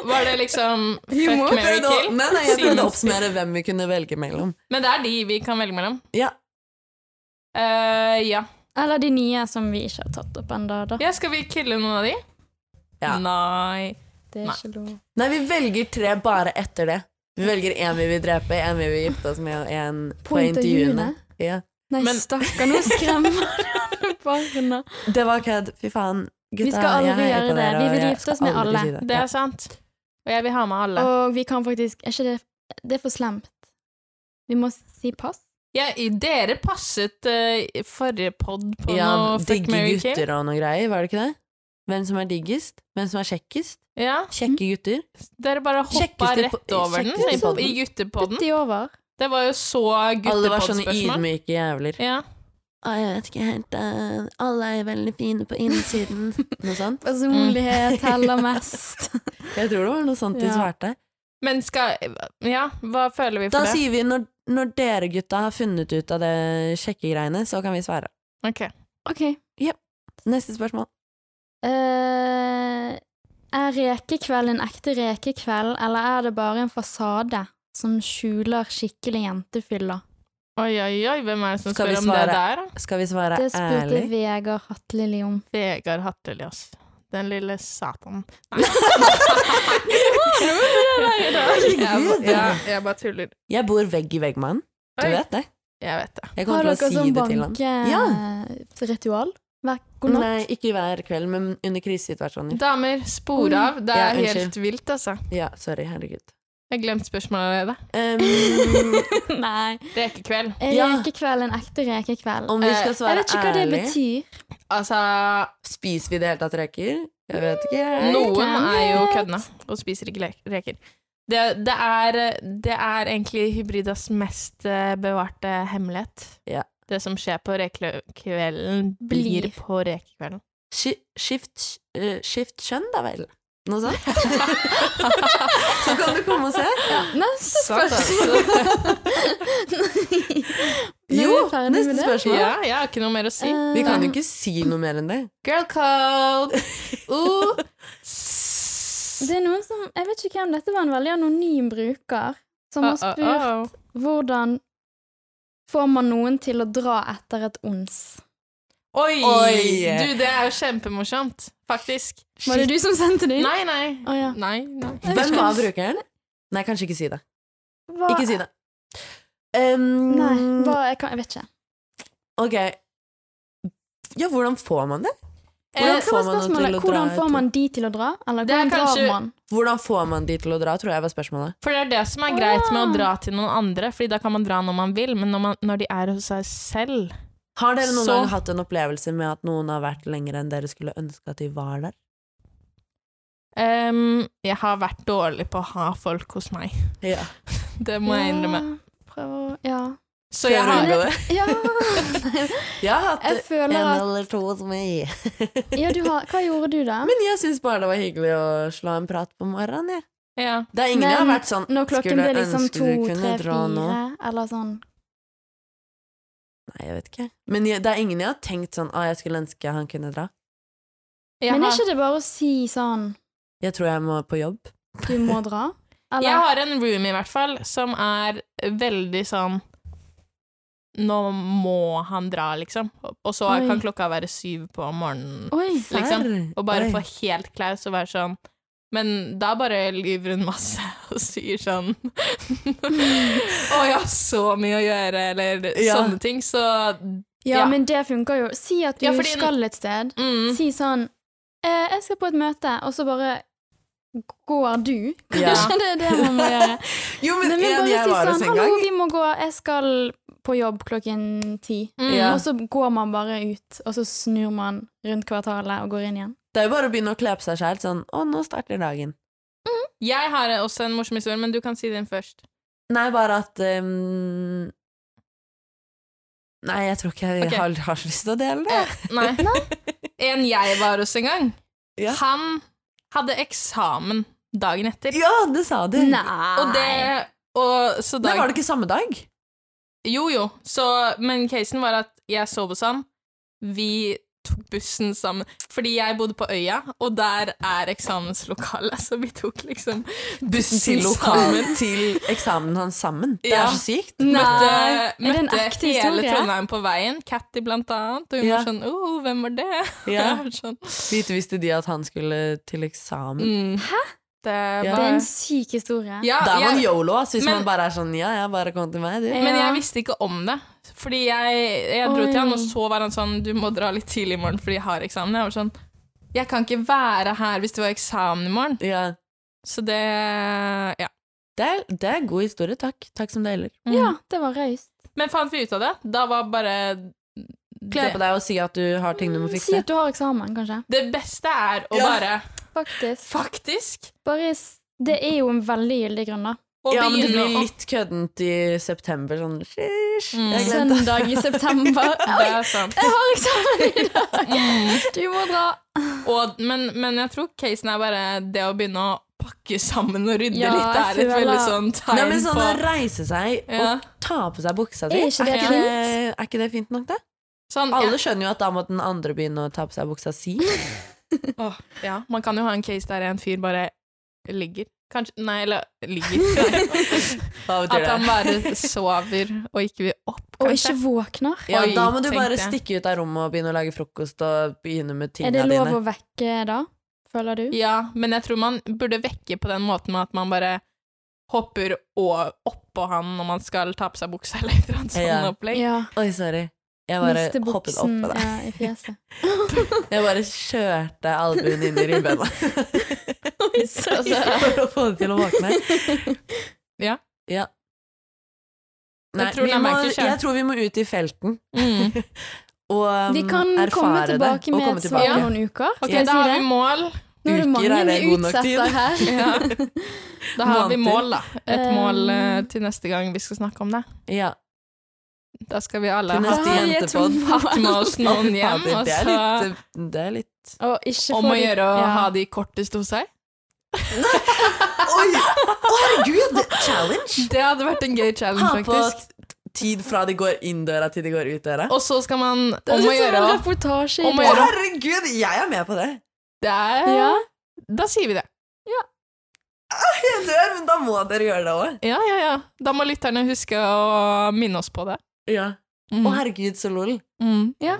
Speaker 1: var det liksom
Speaker 3: Humor.
Speaker 1: Fuck, marry,
Speaker 2: Prøvde å-
Speaker 1: kill?
Speaker 2: Nei, nei, jeg prøvde
Speaker 1: Simen
Speaker 2: å oppsummere hvem vi kunne velge mellom.
Speaker 1: Men det er de vi kan velge mellom.
Speaker 2: Ja,
Speaker 1: Eh, ja.
Speaker 3: Eller de nye som vi ikke har tatt opp ennå, da.
Speaker 1: ja. Skal vi kille noen av de?
Speaker 2: Ja.
Speaker 1: Nei.
Speaker 3: Det er
Speaker 1: Nei.
Speaker 3: ikke lov.
Speaker 2: Nei, vi velger tre bare etter det. Vi velger én vi vil drepe, én vi vil gifte oss med, og én på,
Speaker 3: På
Speaker 2: intervjuene.
Speaker 3: intervjuene?
Speaker 2: Ja.
Speaker 3: Nei,
Speaker 1: Men-
Speaker 3: stakkar, nå skremmer du barna.
Speaker 2: Det var kødd. Fy faen. Gutta,
Speaker 3: Vi skal aldri
Speaker 2: jeg heier
Speaker 3: gjøre
Speaker 2: på
Speaker 3: det.
Speaker 2: dere,
Speaker 3: Vi
Speaker 2: og
Speaker 3: vil
Speaker 2: jeg
Speaker 3: gifte oss
Speaker 2: skal
Speaker 3: med
Speaker 2: aldri
Speaker 3: alle.
Speaker 2: si det.
Speaker 1: Det
Speaker 2: Ja.
Speaker 1: er sant. Og jeg vil ha med alle.
Speaker 3: Og vi kan faktisk Er ikke det Det er for slemt. Vi må si pass.
Speaker 1: Ja, i- dere passet eh, i forrige pod på
Speaker 2: ja,
Speaker 1: noe Fuck,
Speaker 2: Digge
Speaker 1: marry, kill.
Speaker 2: gutter og noe greier, var det ikke det? Hvem som er diggest? Hvem som er kjekkest?
Speaker 1: Ja,
Speaker 2: Kjekke gutter.
Speaker 1: dere bare hoppa
Speaker 2: Kjekkeste
Speaker 1: rett
Speaker 2: po-
Speaker 1: over den
Speaker 2: kjekkeste
Speaker 1: i,
Speaker 2: podden.
Speaker 1: i guttepodden.
Speaker 3: Putt de over.
Speaker 1: Det var jo så
Speaker 2: Alle var sånne
Speaker 1: guttepod-spørsmål.
Speaker 2: ydmyke jævler.
Speaker 1: Ja.
Speaker 2: Å, jeg vet ikke helt eh, Alle er veldig fine på innsiden. Noe sånt. Mm.
Speaker 3: Personlighet teller mest.
Speaker 2: Jeg tror det var noe sånt de
Speaker 3: Ja.
Speaker 2: svarte.
Speaker 1: Men skal Ja, hva føler vi
Speaker 2: Da
Speaker 1: for det?
Speaker 2: sier vi når, når dere gutta har funnet ut av det kjekke greiene, så kan vi svare.
Speaker 1: Ok.
Speaker 3: OK.
Speaker 2: Neste spørsmål.
Speaker 3: Eh, er rekekveld en ekte rekekveld, eller er det bare en fasade som skjuler skikkelig jentefylla?
Speaker 1: Oi, oi, oi, hvem er det som
Speaker 2: Skal vi
Speaker 1: spør om det
Speaker 2: svare?
Speaker 1: der? da?
Speaker 2: Skal vi svare
Speaker 3: Det spurte
Speaker 2: ærlig?
Speaker 3: Vegard Hattelilje om.
Speaker 1: Vegard Hattelid, ass. Den lille satan.
Speaker 2: Herregud.
Speaker 1: Jeg, ja, jeg bare tuller.
Speaker 2: Jeg bor vegg i vegg med han. Du
Speaker 1: Oi.
Speaker 2: vet det?
Speaker 1: Jeg vet det.
Speaker 2: Jeg
Speaker 3: Har
Speaker 2: kommer
Speaker 3: dere
Speaker 2: til å si
Speaker 3: sånn
Speaker 2: det til han.
Speaker 3: bankeritual? Hver god natt?
Speaker 2: Nei, ikke hver kveld, men under krisesituasjoner.
Speaker 1: Damer, spor av. Det
Speaker 2: Mm. Ja,
Speaker 1: er
Speaker 2: unnskyld.
Speaker 1: helt vilt, altså.
Speaker 2: Ja, sorry. Herregud.
Speaker 1: Jeg glemte spørsmålet allerede.
Speaker 2: Um,
Speaker 3: Nei.
Speaker 1: Rekekveld.
Speaker 3: Er
Speaker 2: Ja.
Speaker 3: rekekveld en ekte rekekveld?
Speaker 2: om vi skal
Speaker 1: Eh,
Speaker 3: Jeg
Speaker 2: svare
Speaker 3: vet ikke hva det
Speaker 2: ærlig
Speaker 3: betyr.
Speaker 1: Altså,
Speaker 2: Spiser vi i det hele tatt reker? Jeg vet ikke. jeg.
Speaker 1: noen
Speaker 3: Hvem
Speaker 1: er jo
Speaker 3: vet?
Speaker 1: køddene og spiser ikke le- reker. Det, det, er, det er egentlig hybridas mest eh, bevarte hemmelighet.
Speaker 2: Ja.
Speaker 1: Det som skjer på rekekvelden, blir
Speaker 3: Blir.
Speaker 1: på rekekvelden.
Speaker 2: Ski- Skift, eh, skift kjønn, da vel? Noe sånt? Så kan du komme og se.
Speaker 3: Neste
Speaker 1: Sant,
Speaker 3: spørsmål!
Speaker 1: altså.
Speaker 3: Nå er vi
Speaker 2: Jo,
Speaker 3: ferdig med
Speaker 2: neste
Speaker 3: det.
Speaker 2: spørsmål.
Speaker 1: Ja, jeg har ikke noe mer å si.
Speaker 3: Eh.
Speaker 2: Vi kan jo ikke si noe mer enn det.
Speaker 1: Girl code! Uh.
Speaker 3: Det er noen som Jeg vet ikke hvem dette var, en veldig anonym bruker, som
Speaker 1: Ah,
Speaker 3: har spurt
Speaker 1: Uh-oh-oh.
Speaker 3: hvordan får man noen til å dra etter et ons?
Speaker 1: Oi!
Speaker 2: Oi!
Speaker 1: Du, det er jo kjempemorsomt, faktisk.
Speaker 3: Var det du som sendte det inn?
Speaker 1: Nei, nei.
Speaker 3: Å, ja.
Speaker 1: Nei, nei.
Speaker 2: Hvem var brukeren? Nei, kanskje ikke si det.
Speaker 3: Hva-
Speaker 2: Ikke si det. Um,
Speaker 3: Nei, hva, jeg, kan, jeg vet ikke.
Speaker 2: Ok. Ja, hvordan får man det?
Speaker 3: Hvordan
Speaker 2: Hvordan
Speaker 1: Eh,
Speaker 2: får
Speaker 3: får,
Speaker 2: man noen til å dra
Speaker 3: hvordan får
Speaker 2: etter?
Speaker 3: man de til å dra? Eller
Speaker 1: Det er
Speaker 3: hvordan
Speaker 1: kanskje-
Speaker 3: drar man?
Speaker 2: Hvordan får man de til å dra, tror jeg var spørsmålet.
Speaker 1: For det er det som er greit med å dra til noen andre, Fordi da kan man dra når man vil, men når, man, når de er hos seg selv
Speaker 2: Har dere noen
Speaker 1: Så-
Speaker 2: gang hatt en opplevelse med at noen har vært lenger enn dere skulle ønske at de var der?
Speaker 1: Ehm, Jeg har vært dårlig på å ha folk hos meg.
Speaker 2: Ja.
Speaker 1: Det må jeg innrømme.
Speaker 3: Ja, prøv å Ja.
Speaker 1: Så jeg har
Speaker 3: ja.
Speaker 2: Jeg har hatt
Speaker 3: Jeg føler
Speaker 2: en
Speaker 3: at
Speaker 2: eller to hos meg.
Speaker 3: Ja, du har Hva gjorde du, da?
Speaker 2: Men jeg syns bare det var hyggelig å slå en prat på morgenen, jeg.
Speaker 1: ja.
Speaker 2: Det er ingen jeg har
Speaker 3: Men
Speaker 2: vært sånn
Speaker 3: Når klokken
Speaker 2: «Skulle
Speaker 3: ble liksom
Speaker 2: ønske
Speaker 3: to,
Speaker 2: du
Speaker 3: tre,
Speaker 2: kunne dra nå».
Speaker 3: fire, eller sånn
Speaker 2: Nei, jeg vet ikke. Men jeg, det er ingen jeg har tenkt sånn Å, jeg skulle ønske han kunne dra.
Speaker 1: Jeg
Speaker 3: Men er
Speaker 1: har-
Speaker 3: ikke det bare å si sånn
Speaker 2: Jeg tror jeg må på jobb.
Speaker 3: Du må dra? Eller
Speaker 1: Jeg har en roomie i hvert fall som er veldig sånn Nå må han dra, liksom. Og så
Speaker 3: Oi.
Speaker 1: kan klokka være syv på morgenen.
Speaker 3: Oi!
Speaker 1: Liksom,
Speaker 2: Serr?
Speaker 1: Og bare
Speaker 2: Oi.
Speaker 1: få helt klaus og være sånn Men da bare lyver hun masse og sier sånn Å, jeg har så mye å gjøre, eller
Speaker 2: Ja.
Speaker 1: sånne ting. Så mm,
Speaker 3: Ja,
Speaker 1: Ja.
Speaker 3: men det funker jo. Si at du
Speaker 1: Ja, fordi- Mm.
Speaker 3: skal et sted. Si sånn eh, 'Jeg skal på et møte', og så bare går du.
Speaker 2: Ja.
Speaker 3: Kanskje det er det man må gjøre.
Speaker 2: Jo, men,
Speaker 3: Nei, men
Speaker 2: en
Speaker 3: bare
Speaker 2: jeg
Speaker 3: si
Speaker 2: var hos
Speaker 3: sånn
Speaker 2: en
Speaker 3: 'Hallo,
Speaker 2: gang
Speaker 3: vi må gå. Jeg skal på jobb klokken ti'.
Speaker 1: mm,
Speaker 2: Ja.
Speaker 3: Og så går man bare ut, og så snur man rundt kvartalet og går inn igjen.
Speaker 2: Det er jo bare å begynne å kle på seg sjæl sånn Å, nå starter dagen.
Speaker 1: Jeg har også en morsom historie, men du kan si den først.
Speaker 2: Nei, bare at ehm, Nei, jeg tror ikke jeg
Speaker 1: Ok.
Speaker 2: har, har så lyst til å dele det.
Speaker 1: Eh, nei. En jeg var hos en gang.
Speaker 2: Ja.
Speaker 1: Han hadde eksamen dagen etter.
Speaker 2: Ja, det sa du!
Speaker 1: Og det og, så
Speaker 2: Nei,
Speaker 1: dag,
Speaker 2: var det ikke samme dag?
Speaker 1: Jo, jo. Så, men casen var at jeg sov hos han. Vi tok bussen sammen. Fordi jeg bodde på øya, og der er eksamenslokalet, så vi tok liksom bussen
Speaker 2: Til
Speaker 1: sammen.
Speaker 2: lokalen til eksamen hans sammen. Det
Speaker 1: Ja.
Speaker 2: er så sykt.
Speaker 3: Nei.
Speaker 1: Møtte,
Speaker 3: Er det en
Speaker 1: møtte
Speaker 3: ekte
Speaker 1: hele
Speaker 3: historie?
Speaker 1: Trondheim på veien, Catty blant annet, og hun
Speaker 2: Ja.
Speaker 1: var sånn 'Å, hvem var det?' Jeg var sånn,
Speaker 2: Lite visste de at han skulle til eksamen.
Speaker 1: mm. Hæ? Det
Speaker 2: Ja.
Speaker 3: Det
Speaker 1: var
Speaker 3: er en syk historie.
Speaker 1: ja,
Speaker 2: Da er man
Speaker 1: Ah, jeg-
Speaker 2: yolo, ass, hvis
Speaker 1: Men-
Speaker 2: man bare er sånn Ja, ja, bare kom til meg, du.
Speaker 3: Ja.
Speaker 1: Men jeg visste ikke om det. Fordi jeg, jeg dro
Speaker 3: Oi.
Speaker 1: til han, og så var han sånn Du må dra litt tidlig i morgen fordi jeg har eksamen. Jeg var sånn Jeg kan ikke være her hvis det var eksamen i morgen.
Speaker 2: Ja.
Speaker 1: Så det Ja.
Speaker 2: Det er, det er god historie, takk. Takk som deler.
Speaker 1: Mm.
Speaker 3: Ja, det var raust.
Speaker 1: Men fant vi ut av det? Da var bare
Speaker 2: Kle på
Speaker 1: det,
Speaker 2: deg og si at du har ting du må
Speaker 3: Mm, Si
Speaker 2: fikse.
Speaker 3: at du har eksamen, kanskje.
Speaker 1: det beste er å
Speaker 2: Ja.
Speaker 1: bare
Speaker 3: Faktisk.
Speaker 1: Faktisk!
Speaker 3: Bare s- Det er jo en veldig gyldig grunn, da.
Speaker 1: Å
Speaker 2: Ja, men det
Speaker 1: begynne
Speaker 2: blir
Speaker 1: å
Speaker 2: litt køddent i september, sånn Sheesh.
Speaker 1: Mm.
Speaker 2: Jeg glemte
Speaker 3: Søndag i september.
Speaker 1: Det er sant.
Speaker 3: Jeg har eksamen i dag!
Speaker 1: Mm.
Speaker 3: Du må dra.
Speaker 1: Og, men, men jeg tror casen er bare det å begynne å pakke sammen og rydde
Speaker 3: Ja,
Speaker 1: litt. Det er
Speaker 3: jeg
Speaker 1: et
Speaker 3: føler-
Speaker 1: veldig sånn tegn
Speaker 2: Nei, men sånn å
Speaker 1: på
Speaker 2: reise seg
Speaker 1: Ja.
Speaker 2: og ta på seg buksa si,
Speaker 3: Er ikke det
Speaker 1: Er ikke
Speaker 2: det,
Speaker 3: fint?
Speaker 2: er ikke det fint nok, det?
Speaker 1: sånn, ja.
Speaker 2: Alle skjønner jo at da må den andre begynne å ta på seg buksa si.
Speaker 1: Åh, ja. Man kan jo ha en case der en fyr bare ligger. Kanskje Nei, eller ligger. Nei.
Speaker 2: Hva betyr
Speaker 1: At han
Speaker 2: det?
Speaker 1: bare sover og ikke vil opp,
Speaker 3: Og
Speaker 1: kanskje.
Speaker 3: ikke våkner.
Speaker 2: Ja,
Speaker 1: Oi,
Speaker 2: da må du
Speaker 1: tenkte
Speaker 2: bare
Speaker 1: jeg.
Speaker 2: stikke ut av rommet og begynne å lage frokost og begynne med
Speaker 3: Er det
Speaker 2: tinga
Speaker 3: lov
Speaker 2: dine.
Speaker 3: å vekke da? føler du?
Speaker 1: Ja, men jeg tror man burde vekke på den måten med at man bare hopper å- oppå han når man skal ta på seg buksa eller et eller annet sånn
Speaker 2: Ja.
Speaker 1: opplegg.
Speaker 3: Ja.
Speaker 2: Oi, sorry. Jeg bare
Speaker 3: Miste
Speaker 2: hoppet opp
Speaker 3: buksen
Speaker 2: på deg.
Speaker 3: ja, i fjeset.
Speaker 2: Jeg bare kjørte albuen inn i ribbena
Speaker 1: sorry.
Speaker 2: for å få det til å våkne.
Speaker 1: Ja.
Speaker 2: Ja. Nei,
Speaker 1: tror
Speaker 2: vi
Speaker 1: den er
Speaker 2: må,
Speaker 1: ikke kjent.
Speaker 2: jeg tror vi må ut i felten
Speaker 1: Mm.
Speaker 2: og um,
Speaker 3: Vi kan
Speaker 2: erfare
Speaker 3: komme
Speaker 2: det,
Speaker 3: tilbake
Speaker 2: og
Speaker 3: med
Speaker 2: komme
Speaker 3: et svar
Speaker 1: tilbake.
Speaker 3: om noen uker.
Speaker 1: Ok,
Speaker 3: Skal jeg
Speaker 1: da
Speaker 3: si
Speaker 1: har
Speaker 3: det?
Speaker 1: vi mål.
Speaker 3: Nå er det
Speaker 2: Uker,
Speaker 3: mange
Speaker 2: er det
Speaker 3: vi
Speaker 2: god nok tid?
Speaker 3: utsetter her.
Speaker 1: Ja. Da har vi
Speaker 2: Måneder.
Speaker 1: mål, da. Et mål eh,
Speaker 3: Um.
Speaker 1: til neste gang vi skal snakke om det.
Speaker 2: Ja.
Speaker 1: Da skal vi alle
Speaker 2: Til
Speaker 1: ha
Speaker 2: neste
Speaker 3: Ai, jeg
Speaker 2: jentepod.
Speaker 3: tror-
Speaker 1: hatt med oss noen
Speaker 2: Å,
Speaker 1: hjem, altså. og
Speaker 2: fader, det er
Speaker 1: så
Speaker 2: litt, eh, det er litt
Speaker 3: Og ikke
Speaker 1: om
Speaker 3: få
Speaker 1: å
Speaker 3: de-
Speaker 1: gjøre å
Speaker 3: ja.
Speaker 1: ha de kortest hos seg.
Speaker 2: Oi! Å, herregud! Challenge!
Speaker 1: Det hadde vært en gøy challenge,
Speaker 2: Ha på
Speaker 1: faktisk.
Speaker 2: t- tid fra de går inn døra til de går ut døra. Å,
Speaker 1: Og så skal man
Speaker 3: Det
Speaker 1: om
Speaker 3: er
Speaker 1: å
Speaker 3: litt sånn
Speaker 1: gjøre
Speaker 3: en
Speaker 1: å
Speaker 3: reportasje i
Speaker 1: om å
Speaker 3: det.
Speaker 1: gjøre-
Speaker 2: herregud! Jeg er med på det.
Speaker 1: Det er
Speaker 3: Ja.
Speaker 1: Da sier vi det.
Speaker 2: Jeg dør, men da må dere gjøre det òg.
Speaker 1: Ja, ja, ja. Da må lytterne huske å minne oss på det.
Speaker 2: Ja.
Speaker 1: Mm.
Speaker 2: Å, herregud, så lol.
Speaker 1: Mm.
Speaker 3: Ja.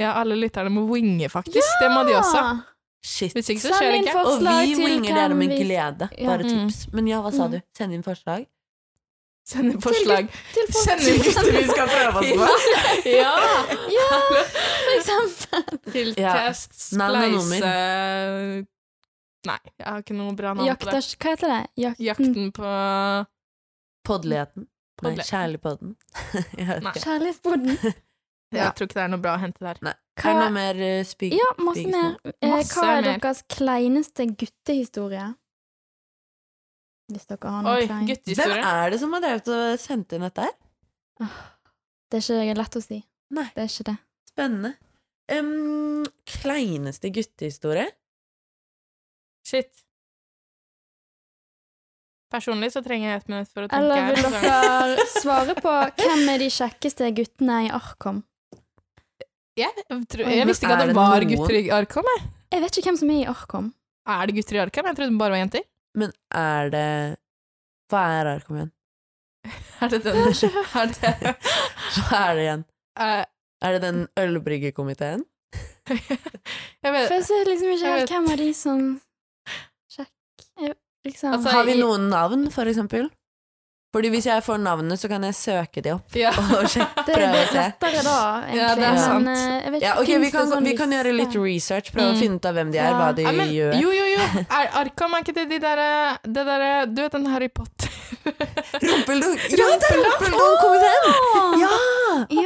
Speaker 1: Ja, alle lytterne må winge, faktisk. Det må de også.
Speaker 3: Ah,
Speaker 2: Shit.
Speaker 1: Hvis ikke så
Speaker 3: Send
Speaker 1: skjer det
Speaker 3: inn
Speaker 1: ikke.
Speaker 2: Og
Speaker 3: forslag
Speaker 2: vi
Speaker 3: til
Speaker 2: winger dere
Speaker 3: hvem
Speaker 2: med
Speaker 3: vi-
Speaker 2: glede.
Speaker 3: Ja.
Speaker 2: Bare
Speaker 1: Mm.
Speaker 2: tips. Men ja, hva sa du? Send inn forslag.
Speaker 1: Send inn forslag.
Speaker 3: til folk-
Speaker 1: Send inn
Speaker 2: vi skal prøve
Speaker 1: Ja!
Speaker 3: Ja, for eksempel.
Speaker 1: Til
Speaker 2: Ja.
Speaker 1: test,
Speaker 2: Navn og nummer.
Speaker 1: spleise eh, Nei, jeg har ikke noe bra navn på det.
Speaker 3: Jakters, hva heter det? Jakten,
Speaker 1: Jakten på
Speaker 2: Podligheten. Nei,
Speaker 1: Podligheten.
Speaker 2: kjærligpodden. Jeg vet
Speaker 1: Nei. Mm.
Speaker 2: ikke.
Speaker 3: Kjærlighetsboden.
Speaker 2: Ja.
Speaker 1: Jeg tror ikke det er noe bra å hente der.
Speaker 2: Er det noe mer eh, spygg?
Speaker 3: Ja, masse
Speaker 2: Spygg-
Speaker 3: mer. Eh,
Speaker 1: Masse
Speaker 3: hva er
Speaker 1: mer.
Speaker 3: deres kleineste guttehistorie? Hvis dere har noen
Speaker 1: Oi,
Speaker 3: klein.
Speaker 2: Hvem
Speaker 1: guttehistorie.
Speaker 2: er det som har drevet og sendt inn dette her?
Speaker 3: Det er ikke lett å si.
Speaker 2: Nei.
Speaker 3: Det er ikke det.
Speaker 2: Spennende. Em, kleineste guttehistorie?
Speaker 1: Shit. Personlig så trenger jeg ett minutt for å tenke.
Speaker 3: Eller vil
Speaker 1: her.
Speaker 3: dere svare på hvem er de kjekkeste guttene i Arkom?
Speaker 1: Jeg, tror,
Speaker 3: Oi,
Speaker 1: jeg
Speaker 2: men
Speaker 1: visste ikke
Speaker 2: er
Speaker 1: at det
Speaker 2: det
Speaker 1: var
Speaker 2: noen-
Speaker 1: gutter i Arkom. jeg.
Speaker 3: Jeg vet ikke hvem som er i Arkom.
Speaker 1: Er det gutter i Arkom? Jeg trodde det bare var jenter.
Speaker 2: Men er det Hva er Arkom igjen?
Speaker 1: Er det den er det,
Speaker 2: Hva er det igjen?
Speaker 1: eh,
Speaker 2: Er det den ølbryggekomiteen?
Speaker 1: jeg
Speaker 3: For
Speaker 1: vet,
Speaker 3: jeg ser liksom ikke
Speaker 1: Eh, jeg vet.
Speaker 3: helt hvem av de som Sjekk jeg- liksom.
Speaker 1: Altså,
Speaker 2: Har vi
Speaker 1: i-
Speaker 2: noen navn, for eksempel? Fordi hvis jeg får navnene, så kan jeg søke de opp
Speaker 1: ja.
Speaker 2: og sjekke,
Speaker 3: Det er
Speaker 2: prøve å
Speaker 3: litt
Speaker 2: se.
Speaker 3: lettere da, egentlig.
Speaker 1: Ja, det er sant.
Speaker 3: Men, eh, jeg vet
Speaker 2: Ja,
Speaker 3: ikke,
Speaker 2: ok,
Speaker 3: finnes
Speaker 2: vi
Speaker 3: det
Speaker 2: kan,
Speaker 3: sånn
Speaker 2: vi kan gjøre litt
Speaker 3: liste?
Speaker 2: research, prøve
Speaker 1: Mm.
Speaker 2: å finne ut av hvem de er, hva de
Speaker 1: Ja, men,
Speaker 2: gjør.
Speaker 1: jo, jo, jo. Er, Arkham er ikke det de derre det derre- Du vet den Harry Potter
Speaker 2: Rumpeldunk! Ja, det er Rumpeldunk-komiteen! Ja!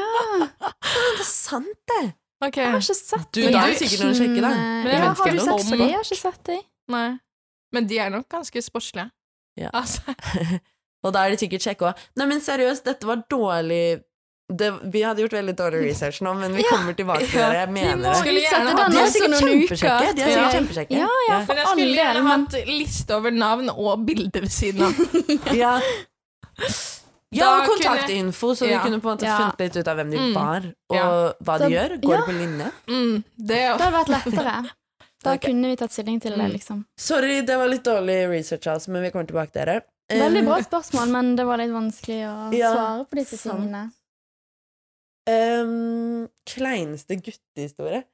Speaker 3: Ja!
Speaker 2: Det er sant, det!
Speaker 1: Ok,
Speaker 3: Jeg har ikke sett
Speaker 2: Du,
Speaker 1: da er
Speaker 3: de
Speaker 1: det
Speaker 3: guttene.
Speaker 2: sikkert noen sjekke, da.
Speaker 1: Men jeg
Speaker 3: Ja,
Speaker 1: vet
Speaker 3: har
Speaker 1: ikke
Speaker 3: du sett
Speaker 1: om-
Speaker 3: de? Jeg har ikke sett de.
Speaker 1: nei. Men de er nok ganske sportslige.
Speaker 2: Ja.
Speaker 1: Altså,
Speaker 2: Og da er de sikkert kjekke òg. Nei, men seriøst, dette var dårlig det, Vi hadde gjort veldig dårlig research nå, men vi
Speaker 3: Ja.
Speaker 2: kommer tilbake til dere. Jeg mener det.
Speaker 1: Skulle gjerne hatt-
Speaker 2: De
Speaker 1: nå
Speaker 2: er sikkert kjempesjekke. De er sikkert kjempesjekke.
Speaker 3: Ja,
Speaker 1: men
Speaker 2: ja,
Speaker 1: jeg
Speaker 3: for all
Speaker 1: skulle gjerne
Speaker 3: del, men-
Speaker 1: hatt liste over navn og bilde ved siden av.
Speaker 2: Ja, ja
Speaker 1: Da
Speaker 2: og kontaktinfo, så vi
Speaker 1: Ja.
Speaker 2: kunne på en måte
Speaker 3: Ja.
Speaker 2: funnet litt ut av hvem de
Speaker 1: Mm.
Speaker 2: var, og
Speaker 1: Ja.
Speaker 2: hva
Speaker 3: Da-
Speaker 2: de gjør. Går de på linje?
Speaker 1: Mm, det er
Speaker 3: Det hadde vært lettere. Da
Speaker 2: Ok.
Speaker 3: kunne vi tatt stilling til det,
Speaker 1: Mm.
Speaker 3: liksom.
Speaker 2: Sorry, det var litt dårlig research, altså, men vi kommer tilbake til dere. Um,
Speaker 3: Veldig bra spørsmål, men det var litt vanskelig å
Speaker 2: Ja,
Speaker 3: svare på disse
Speaker 2: sant.
Speaker 3: tingene.
Speaker 2: um, kleineste guttehistorie.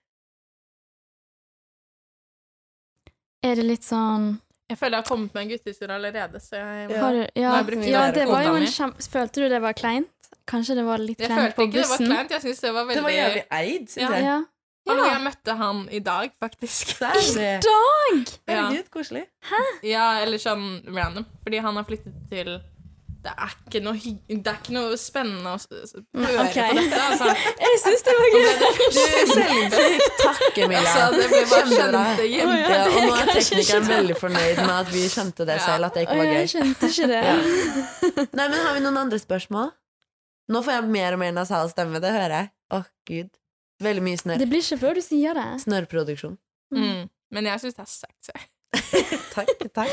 Speaker 3: Er det litt sånn
Speaker 1: Jeg føler jeg har kommet med en guttehistorie allerede, så jeg
Speaker 2: Ja.
Speaker 3: Har du Ja,
Speaker 1: Nei, brukte
Speaker 3: ja
Speaker 1: vi
Speaker 3: det var jo
Speaker 1: koden
Speaker 3: en
Speaker 1: min?
Speaker 3: kjem... Følte du det var kleint? Kanskje det var litt
Speaker 1: Jeg
Speaker 3: kleint
Speaker 1: følte
Speaker 3: på
Speaker 1: ikke det var
Speaker 3: bussen?
Speaker 1: kleint. Jeg synes det var veldig
Speaker 2: Det var jævlig eid, syns
Speaker 1: Ja.
Speaker 2: jeg.
Speaker 3: Ja.
Speaker 1: Hallo, jeg møtte han i dag, faktisk.
Speaker 2: Der, det.
Speaker 3: Dag!
Speaker 2: Herregud, koselig.
Speaker 1: Ja, eller sånn random. Fordi han har flyttet til Det er ikke noe, hygg- det er ikke noe spennende å s- s-
Speaker 2: Mm,
Speaker 1: høre
Speaker 3: ok.
Speaker 1: på dette. Altså.
Speaker 3: Jeg syns det var
Speaker 2: Du, selvinnsikt. Takk, Emilia.
Speaker 1: altså, det ble bare skjønte
Speaker 2: Kjempebra.
Speaker 1: jente.
Speaker 2: Ja, og nå er
Speaker 3: Kanskje
Speaker 2: teknikeren
Speaker 3: ikke.
Speaker 2: veldig fornøyd med at vi skjønte det
Speaker 1: Ja.
Speaker 2: selv. At det ikke
Speaker 3: Oi,
Speaker 2: var
Speaker 3: jeg
Speaker 2: gøy.
Speaker 3: skjønte ikke det.
Speaker 2: Nei, men Har vi noen andre spørsmål? Nå får jeg mer og mer nasal stemme, det hører jeg. Åh, gud. Veldig mye snørr.
Speaker 3: Det blir ikke før du sier det.
Speaker 2: Snørrproduksjon.
Speaker 1: Mm. Men jeg syns det er sexy.
Speaker 2: Takk. takk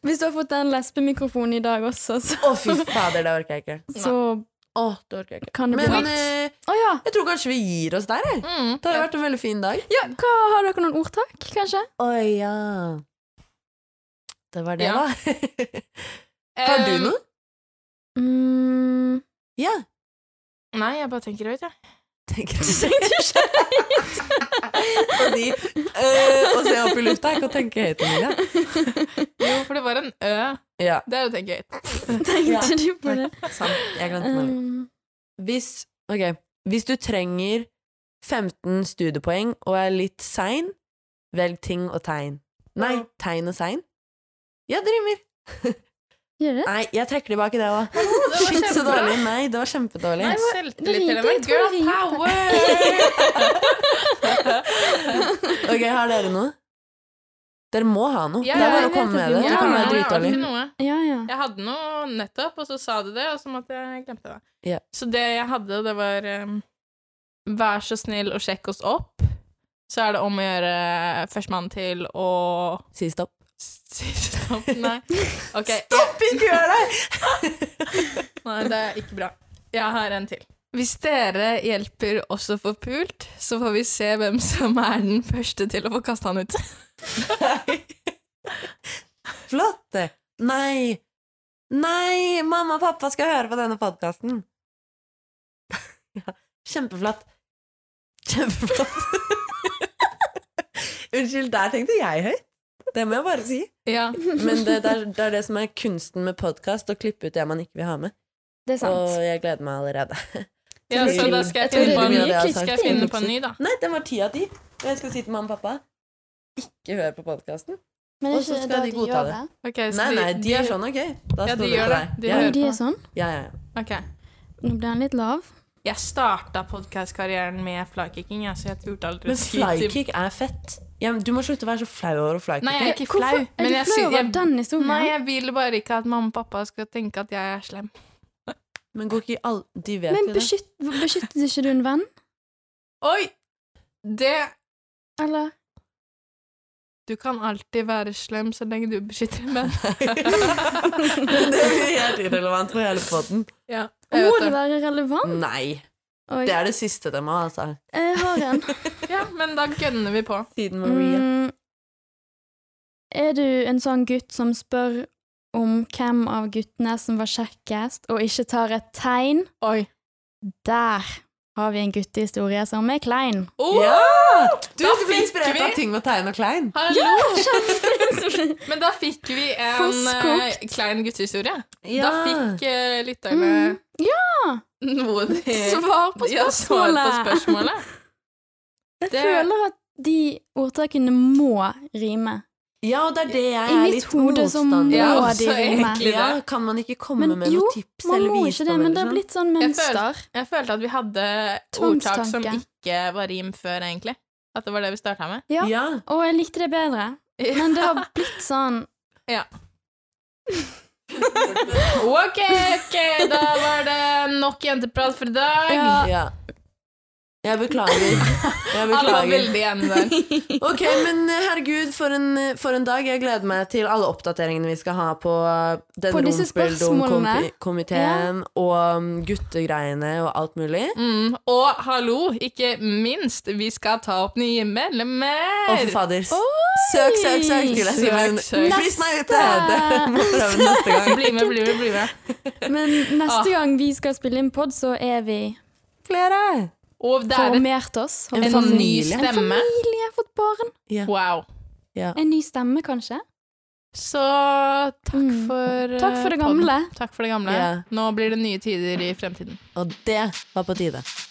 Speaker 3: Hvis du har fått den lesbemikrofonen i dag også, så,
Speaker 2: Å, fy fader, det orker jeg ikke.
Speaker 3: så
Speaker 2: Å, det orker jeg ikke.
Speaker 3: kan det bli
Speaker 2: Men
Speaker 3: litt-
Speaker 2: eh,
Speaker 3: Å ja.
Speaker 2: jeg tror kanskje vi gir oss der, jeg.
Speaker 1: Mm.
Speaker 2: Det har vært en veldig fin dag.
Speaker 3: ja! Hva Har dere noen ordtak, kanskje?
Speaker 2: Å ja. Det var det,
Speaker 1: Ja.
Speaker 2: da. Har du
Speaker 1: Um,
Speaker 2: noe?
Speaker 3: Mm,
Speaker 2: Ja.
Speaker 1: Nei, jeg bare tenker høyt, jeg.
Speaker 2: tenker du Og de øh, Og se opp i lufta er ikke å tenke høyt, Emilie.
Speaker 1: Jo, for det var en ø.
Speaker 2: Ja.
Speaker 1: Det er å tenke høyt.
Speaker 2: Ja.
Speaker 3: Tenkte du på det?
Speaker 2: Sant. Jeg glemte meg.
Speaker 3: Um,
Speaker 2: Hvis, ok, hvis du trenger 15 studiepoeng og er litt sein, velg ting og tegn. Nei, tegn og sein. Jeg driver.
Speaker 3: gjør det?
Speaker 2: Nei, jeg trekker tilbake det òg.
Speaker 1: var
Speaker 2: Shit, så
Speaker 1: kjempebra.
Speaker 2: dårlig. Nei, det var kjempedårlig.
Speaker 1: Nei,
Speaker 3: hva-
Speaker 1: selvtillit
Speaker 3: det
Speaker 1: til
Speaker 3: rimte,
Speaker 1: og med.
Speaker 3: jeg tror
Speaker 1: Girl
Speaker 3: det rimte.
Speaker 1: power!
Speaker 2: Ok, har dere noe? Dere må ha noe.
Speaker 1: Ja,
Speaker 2: det er
Speaker 1: ja,
Speaker 2: bare
Speaker 1: jeg
Speaker 2: å komme
Speaker 3: vet at
Speaker 2: med
Speaker 3: du
Speaker 1: Jeg
Speaker 2: det. Du kan
Speaker 3: må ha
Speaker 2: være
Speaker 1: har
Speaker 2: dritdårlig.
Speaker 1: alltid noe.
Speaker 3: Ja, ja.
Speaker 1: Jeg hadde noe nettopp, og så sa du det, og så måtte jeg glemte det.
Speaker 2: Ja.
Speaker 1: Så det jeg hadde, det var um, Vær så snill å sjekke oss opp. Så er det om å gjøre eh, førstemann til å
Speaker 2: Si stopp.
Speaker 1: si stopp. Nei. Ok,
Speaker 2: Stopp, ikke gjør det!
Speaker 1: Nei, det er ikke bra. Jeg har en til. Hvis dere hjelper oss å få pult, så får vi se hvem som er den første til å få kasta han ut.
Speaker 2: Flott! Nei! Nei! Mamma og pappa skal høre på denne podkasten! ja, kjempeflott. Kjempeflott. Unnskyld, der tenkte jeg høyt. Det må jeg bare si.
Speaker 1: Ja.
Speaker 2: Men det, det, er, det er det som er kunsten med podkast, å klippe ut det man ikke vil ha med.
Speaker 3: Det er
Speaker 2: Og
Speaker 3: sant.
Speaker 2: jeg gleder meg allerede.
Speaker 1: ja, så da skal jeg
Speaker 2: tror
Speaker 1: finne
Speaker 2: det
Speaker 1: på en
Speaker 2: blir
Speaker 1: ny.
Speaker 2: mye klipp.
Speaker 1: Skal jeg finne på en ny, da?
Speaker 2: Nei, den var ti av ti. Og jeg skal si til mamma og pappa ikke hør på podkasten.
Speaker 3: Men
Speaker 2: Og så
Speaker 3: ikke
Speaker 2: skal
Speaker 3: da
Speaker 2: de godta
Speaker 3: gjør
Speaker 2: det.
Speaker 1: Ok, så
Speaker 2: Nei, nei, de er sånn, ok. Da
Speaker 1: Ja, de
Speaker 2: stoler jeg
Speaker 1: gjør
Speaker 2: på
Speaker 1: det.
Speaker 2: deg.
Speaker 1: De
Speaker 2: Ja,
Speaker 3: Å,
Speaker 1: hører
Speaker 3: de
Speaker 1: på.
Speaker 3: er sånn?
Speaker 2: ja, ja.
Speaker 1: Ok.
Speaker 3: Nå ble han litt lav.
Speaker 1: Jeg starta podkastkarrieren med flykicking, jeg, så jeg turte aldri
Speaker 2: Men
Speaker 1: å si til
Speaker 2: flykick er fett. Ja, men du må slutte å være så flau over flykicking.
Speaker 1: Nei, jeg er ikke
Speaker 3: Hvorfor
Speaker 1: flau.
Speaker 3: er du
Speaker 1: jeg
Speaker 3: flau
Speaker 1: sy-
Speaker 3: over
Speaker 1: jeg-
Speaker 3: den historien?
Speaker 1: Nei, jeg vil bare ikke at mamma og pappa skal tenke at jeg er slem.
Speaker 2: Men går ikke i all... De vet
Speaker 3: Men
Speaker 2: jo det.
Speaker 3: beskytt, beskyttet ikke du en venn?
Speaker 1: Oi! Det
Speaker 3: Eller?
Speaker 1: Du kan alltid være slem så lenge du beskytter en venn.
Speaker 2: det blir helt irrelevant for hele poden.
Speaker 1: Ja, jeg
Speaker 3: Må
Speaker 1: vet
Speaker 3: det
Speaker 1: det.
Speaker 3: være relevant?
Speaker 2: Nei.
Speaker 3: Oi,
Speaker 2: Det er det siste de må ha, altså.
Speaker 3: jeg har en.
Speaker 1: ja, men da gønner vi på.
Speaker 2: Siden Maria.
Speaker 3: Mm, er du en sånn gutt som spør om hvem av guttene som var kjekkest, og ikke tar et tegn?
Speaker 1: Oi.
Speaker 3: Der har vi en guttehistorie som er klein.
Speaker 1: Oh,
Speaker 2: Ja! Du
Speaker 1: Da
Speaker 2: er så
Speaker 1: fikk
Speaker 2: inspirert
Speaker 1: vi-
Speaker 2: av ting med tegn og klein.
Speaker 1: Hallo!
Speaker 3: Kjempe-
Speaker 1: Men da fikk vi en eh,
Speaker 3: Forskåkt.
Speaker 1: klein guttehistorie. Da
Speaker 2: Ja.
Speaker 1: fikk eh, lytterne
Speaker 3: Mm. Ja!
Speaker 1: noe de
Speaker 3: Svar på
Speaker 1: Ja, svar på
Speaker 3: spørsmålet!
Speaker 1: spørsmålet.
Speaker 3: Jeg
Speaker 1: Det-
Speaker 3: føler at de ordtakene må rime.
Speaker 2: Ja, og det er det jeg
Speaker 3: I
Speaker 2: er
Speaker 3: mitt
Speaker 2: litt
Speaker 3: hode så
Speaker 2: motstander
Speaker 1: Ja,
Speaker 3: må
Speaker 1: også
Speaker 3: de rime.
Speaker 1: egentlig.
Speaker 2: Ja, kan man ikke komme
Speaker 3: Men
Speaker 2: med
Speaker 3: jo,
Speaker 2: noen tips
Speaker 3: altså, Man
Speaker 2: eller
Speaker 3: må ikke
Speaker 2: visdom?
Speaker 3: det, men
Speaker 2: eller
Speaker 3: det har
Speaker 2: sånn?
Speaker 3: blitt sånn
Speaker 1: Jeg
Speaker 3: mønster.
Speaker 1: Jeg følte at vi hadde ordtak som
Speaker 3: Tvangstanke.
Speaker 1: ikke var rim før, egentlig. At det var det vi starta med.
Speaker 3: Ja.
Speaker 2: Ja.
Speaker 3: Og jeg likte det bedre. Men det har blitt sånn
Speaker 1: Ok, ok, da var det nok jenteprat for i dag.
Speaker 3: Ja.
Speaker 2: ja. Jeg beklager. Jeg
Speaker 1: Alle var
Speaker 2: beklager.
Speaker 1: veldig enige der.
Speaker 2: Ok, men eh, herregud, for en, eh, for en dag. Jeg gleder meg til alle oppdateringene vi skal ha på eh, den
Speaker 3: På disse spørsmålene.
Speaker 2: rumpeldom-komiteen og um, guttegreiene og alt mulig.
Speaker 1: Mm. Og hallo, ikke minst, vi skal ta opp nye
Speaker 2: Og for
Speaker 1: medlemmer!
Speaker 2: fader, s- søk, søk, søk! Til jeg skriver en
Speaker 1: Søk, søk.
Speaker 2: frist meg ute! Det må vi prøve neste gang.
Speaker 1: Bli med, bli med, bli med.
Speaker 3: Men neste
Speaker 1: Ah.
Speaker 3: gang vi skal spille inn pod, så er vi
Speaker 2: Flere!
Speaker 1: Og det er en,
Speaker 3: formert oss. holdt jeg
Speaker 2: En
Speaker 3: på å si.
Speaker 1: ny
Speaker 2: familie.
Speaker 3: En
Speaker 1: stemme.
Speaker 3: familie har fått barn.
Speaker 1: Wow.
Speaker 3: En ny stemme, kanskje.
Speaker 1: Så takk
Speaker 3: Mm.
Speaker 1: for eh,
Speaker 3: Takk for det
Speaker 1: podden.
Speaker 3: gamle.
Speaker 1: Takk for det gamle.
Speaker 2: Ja.
Speaker 1: Nå blir det nye tider i fremtiden.
Speaker 2: Og det var på tide.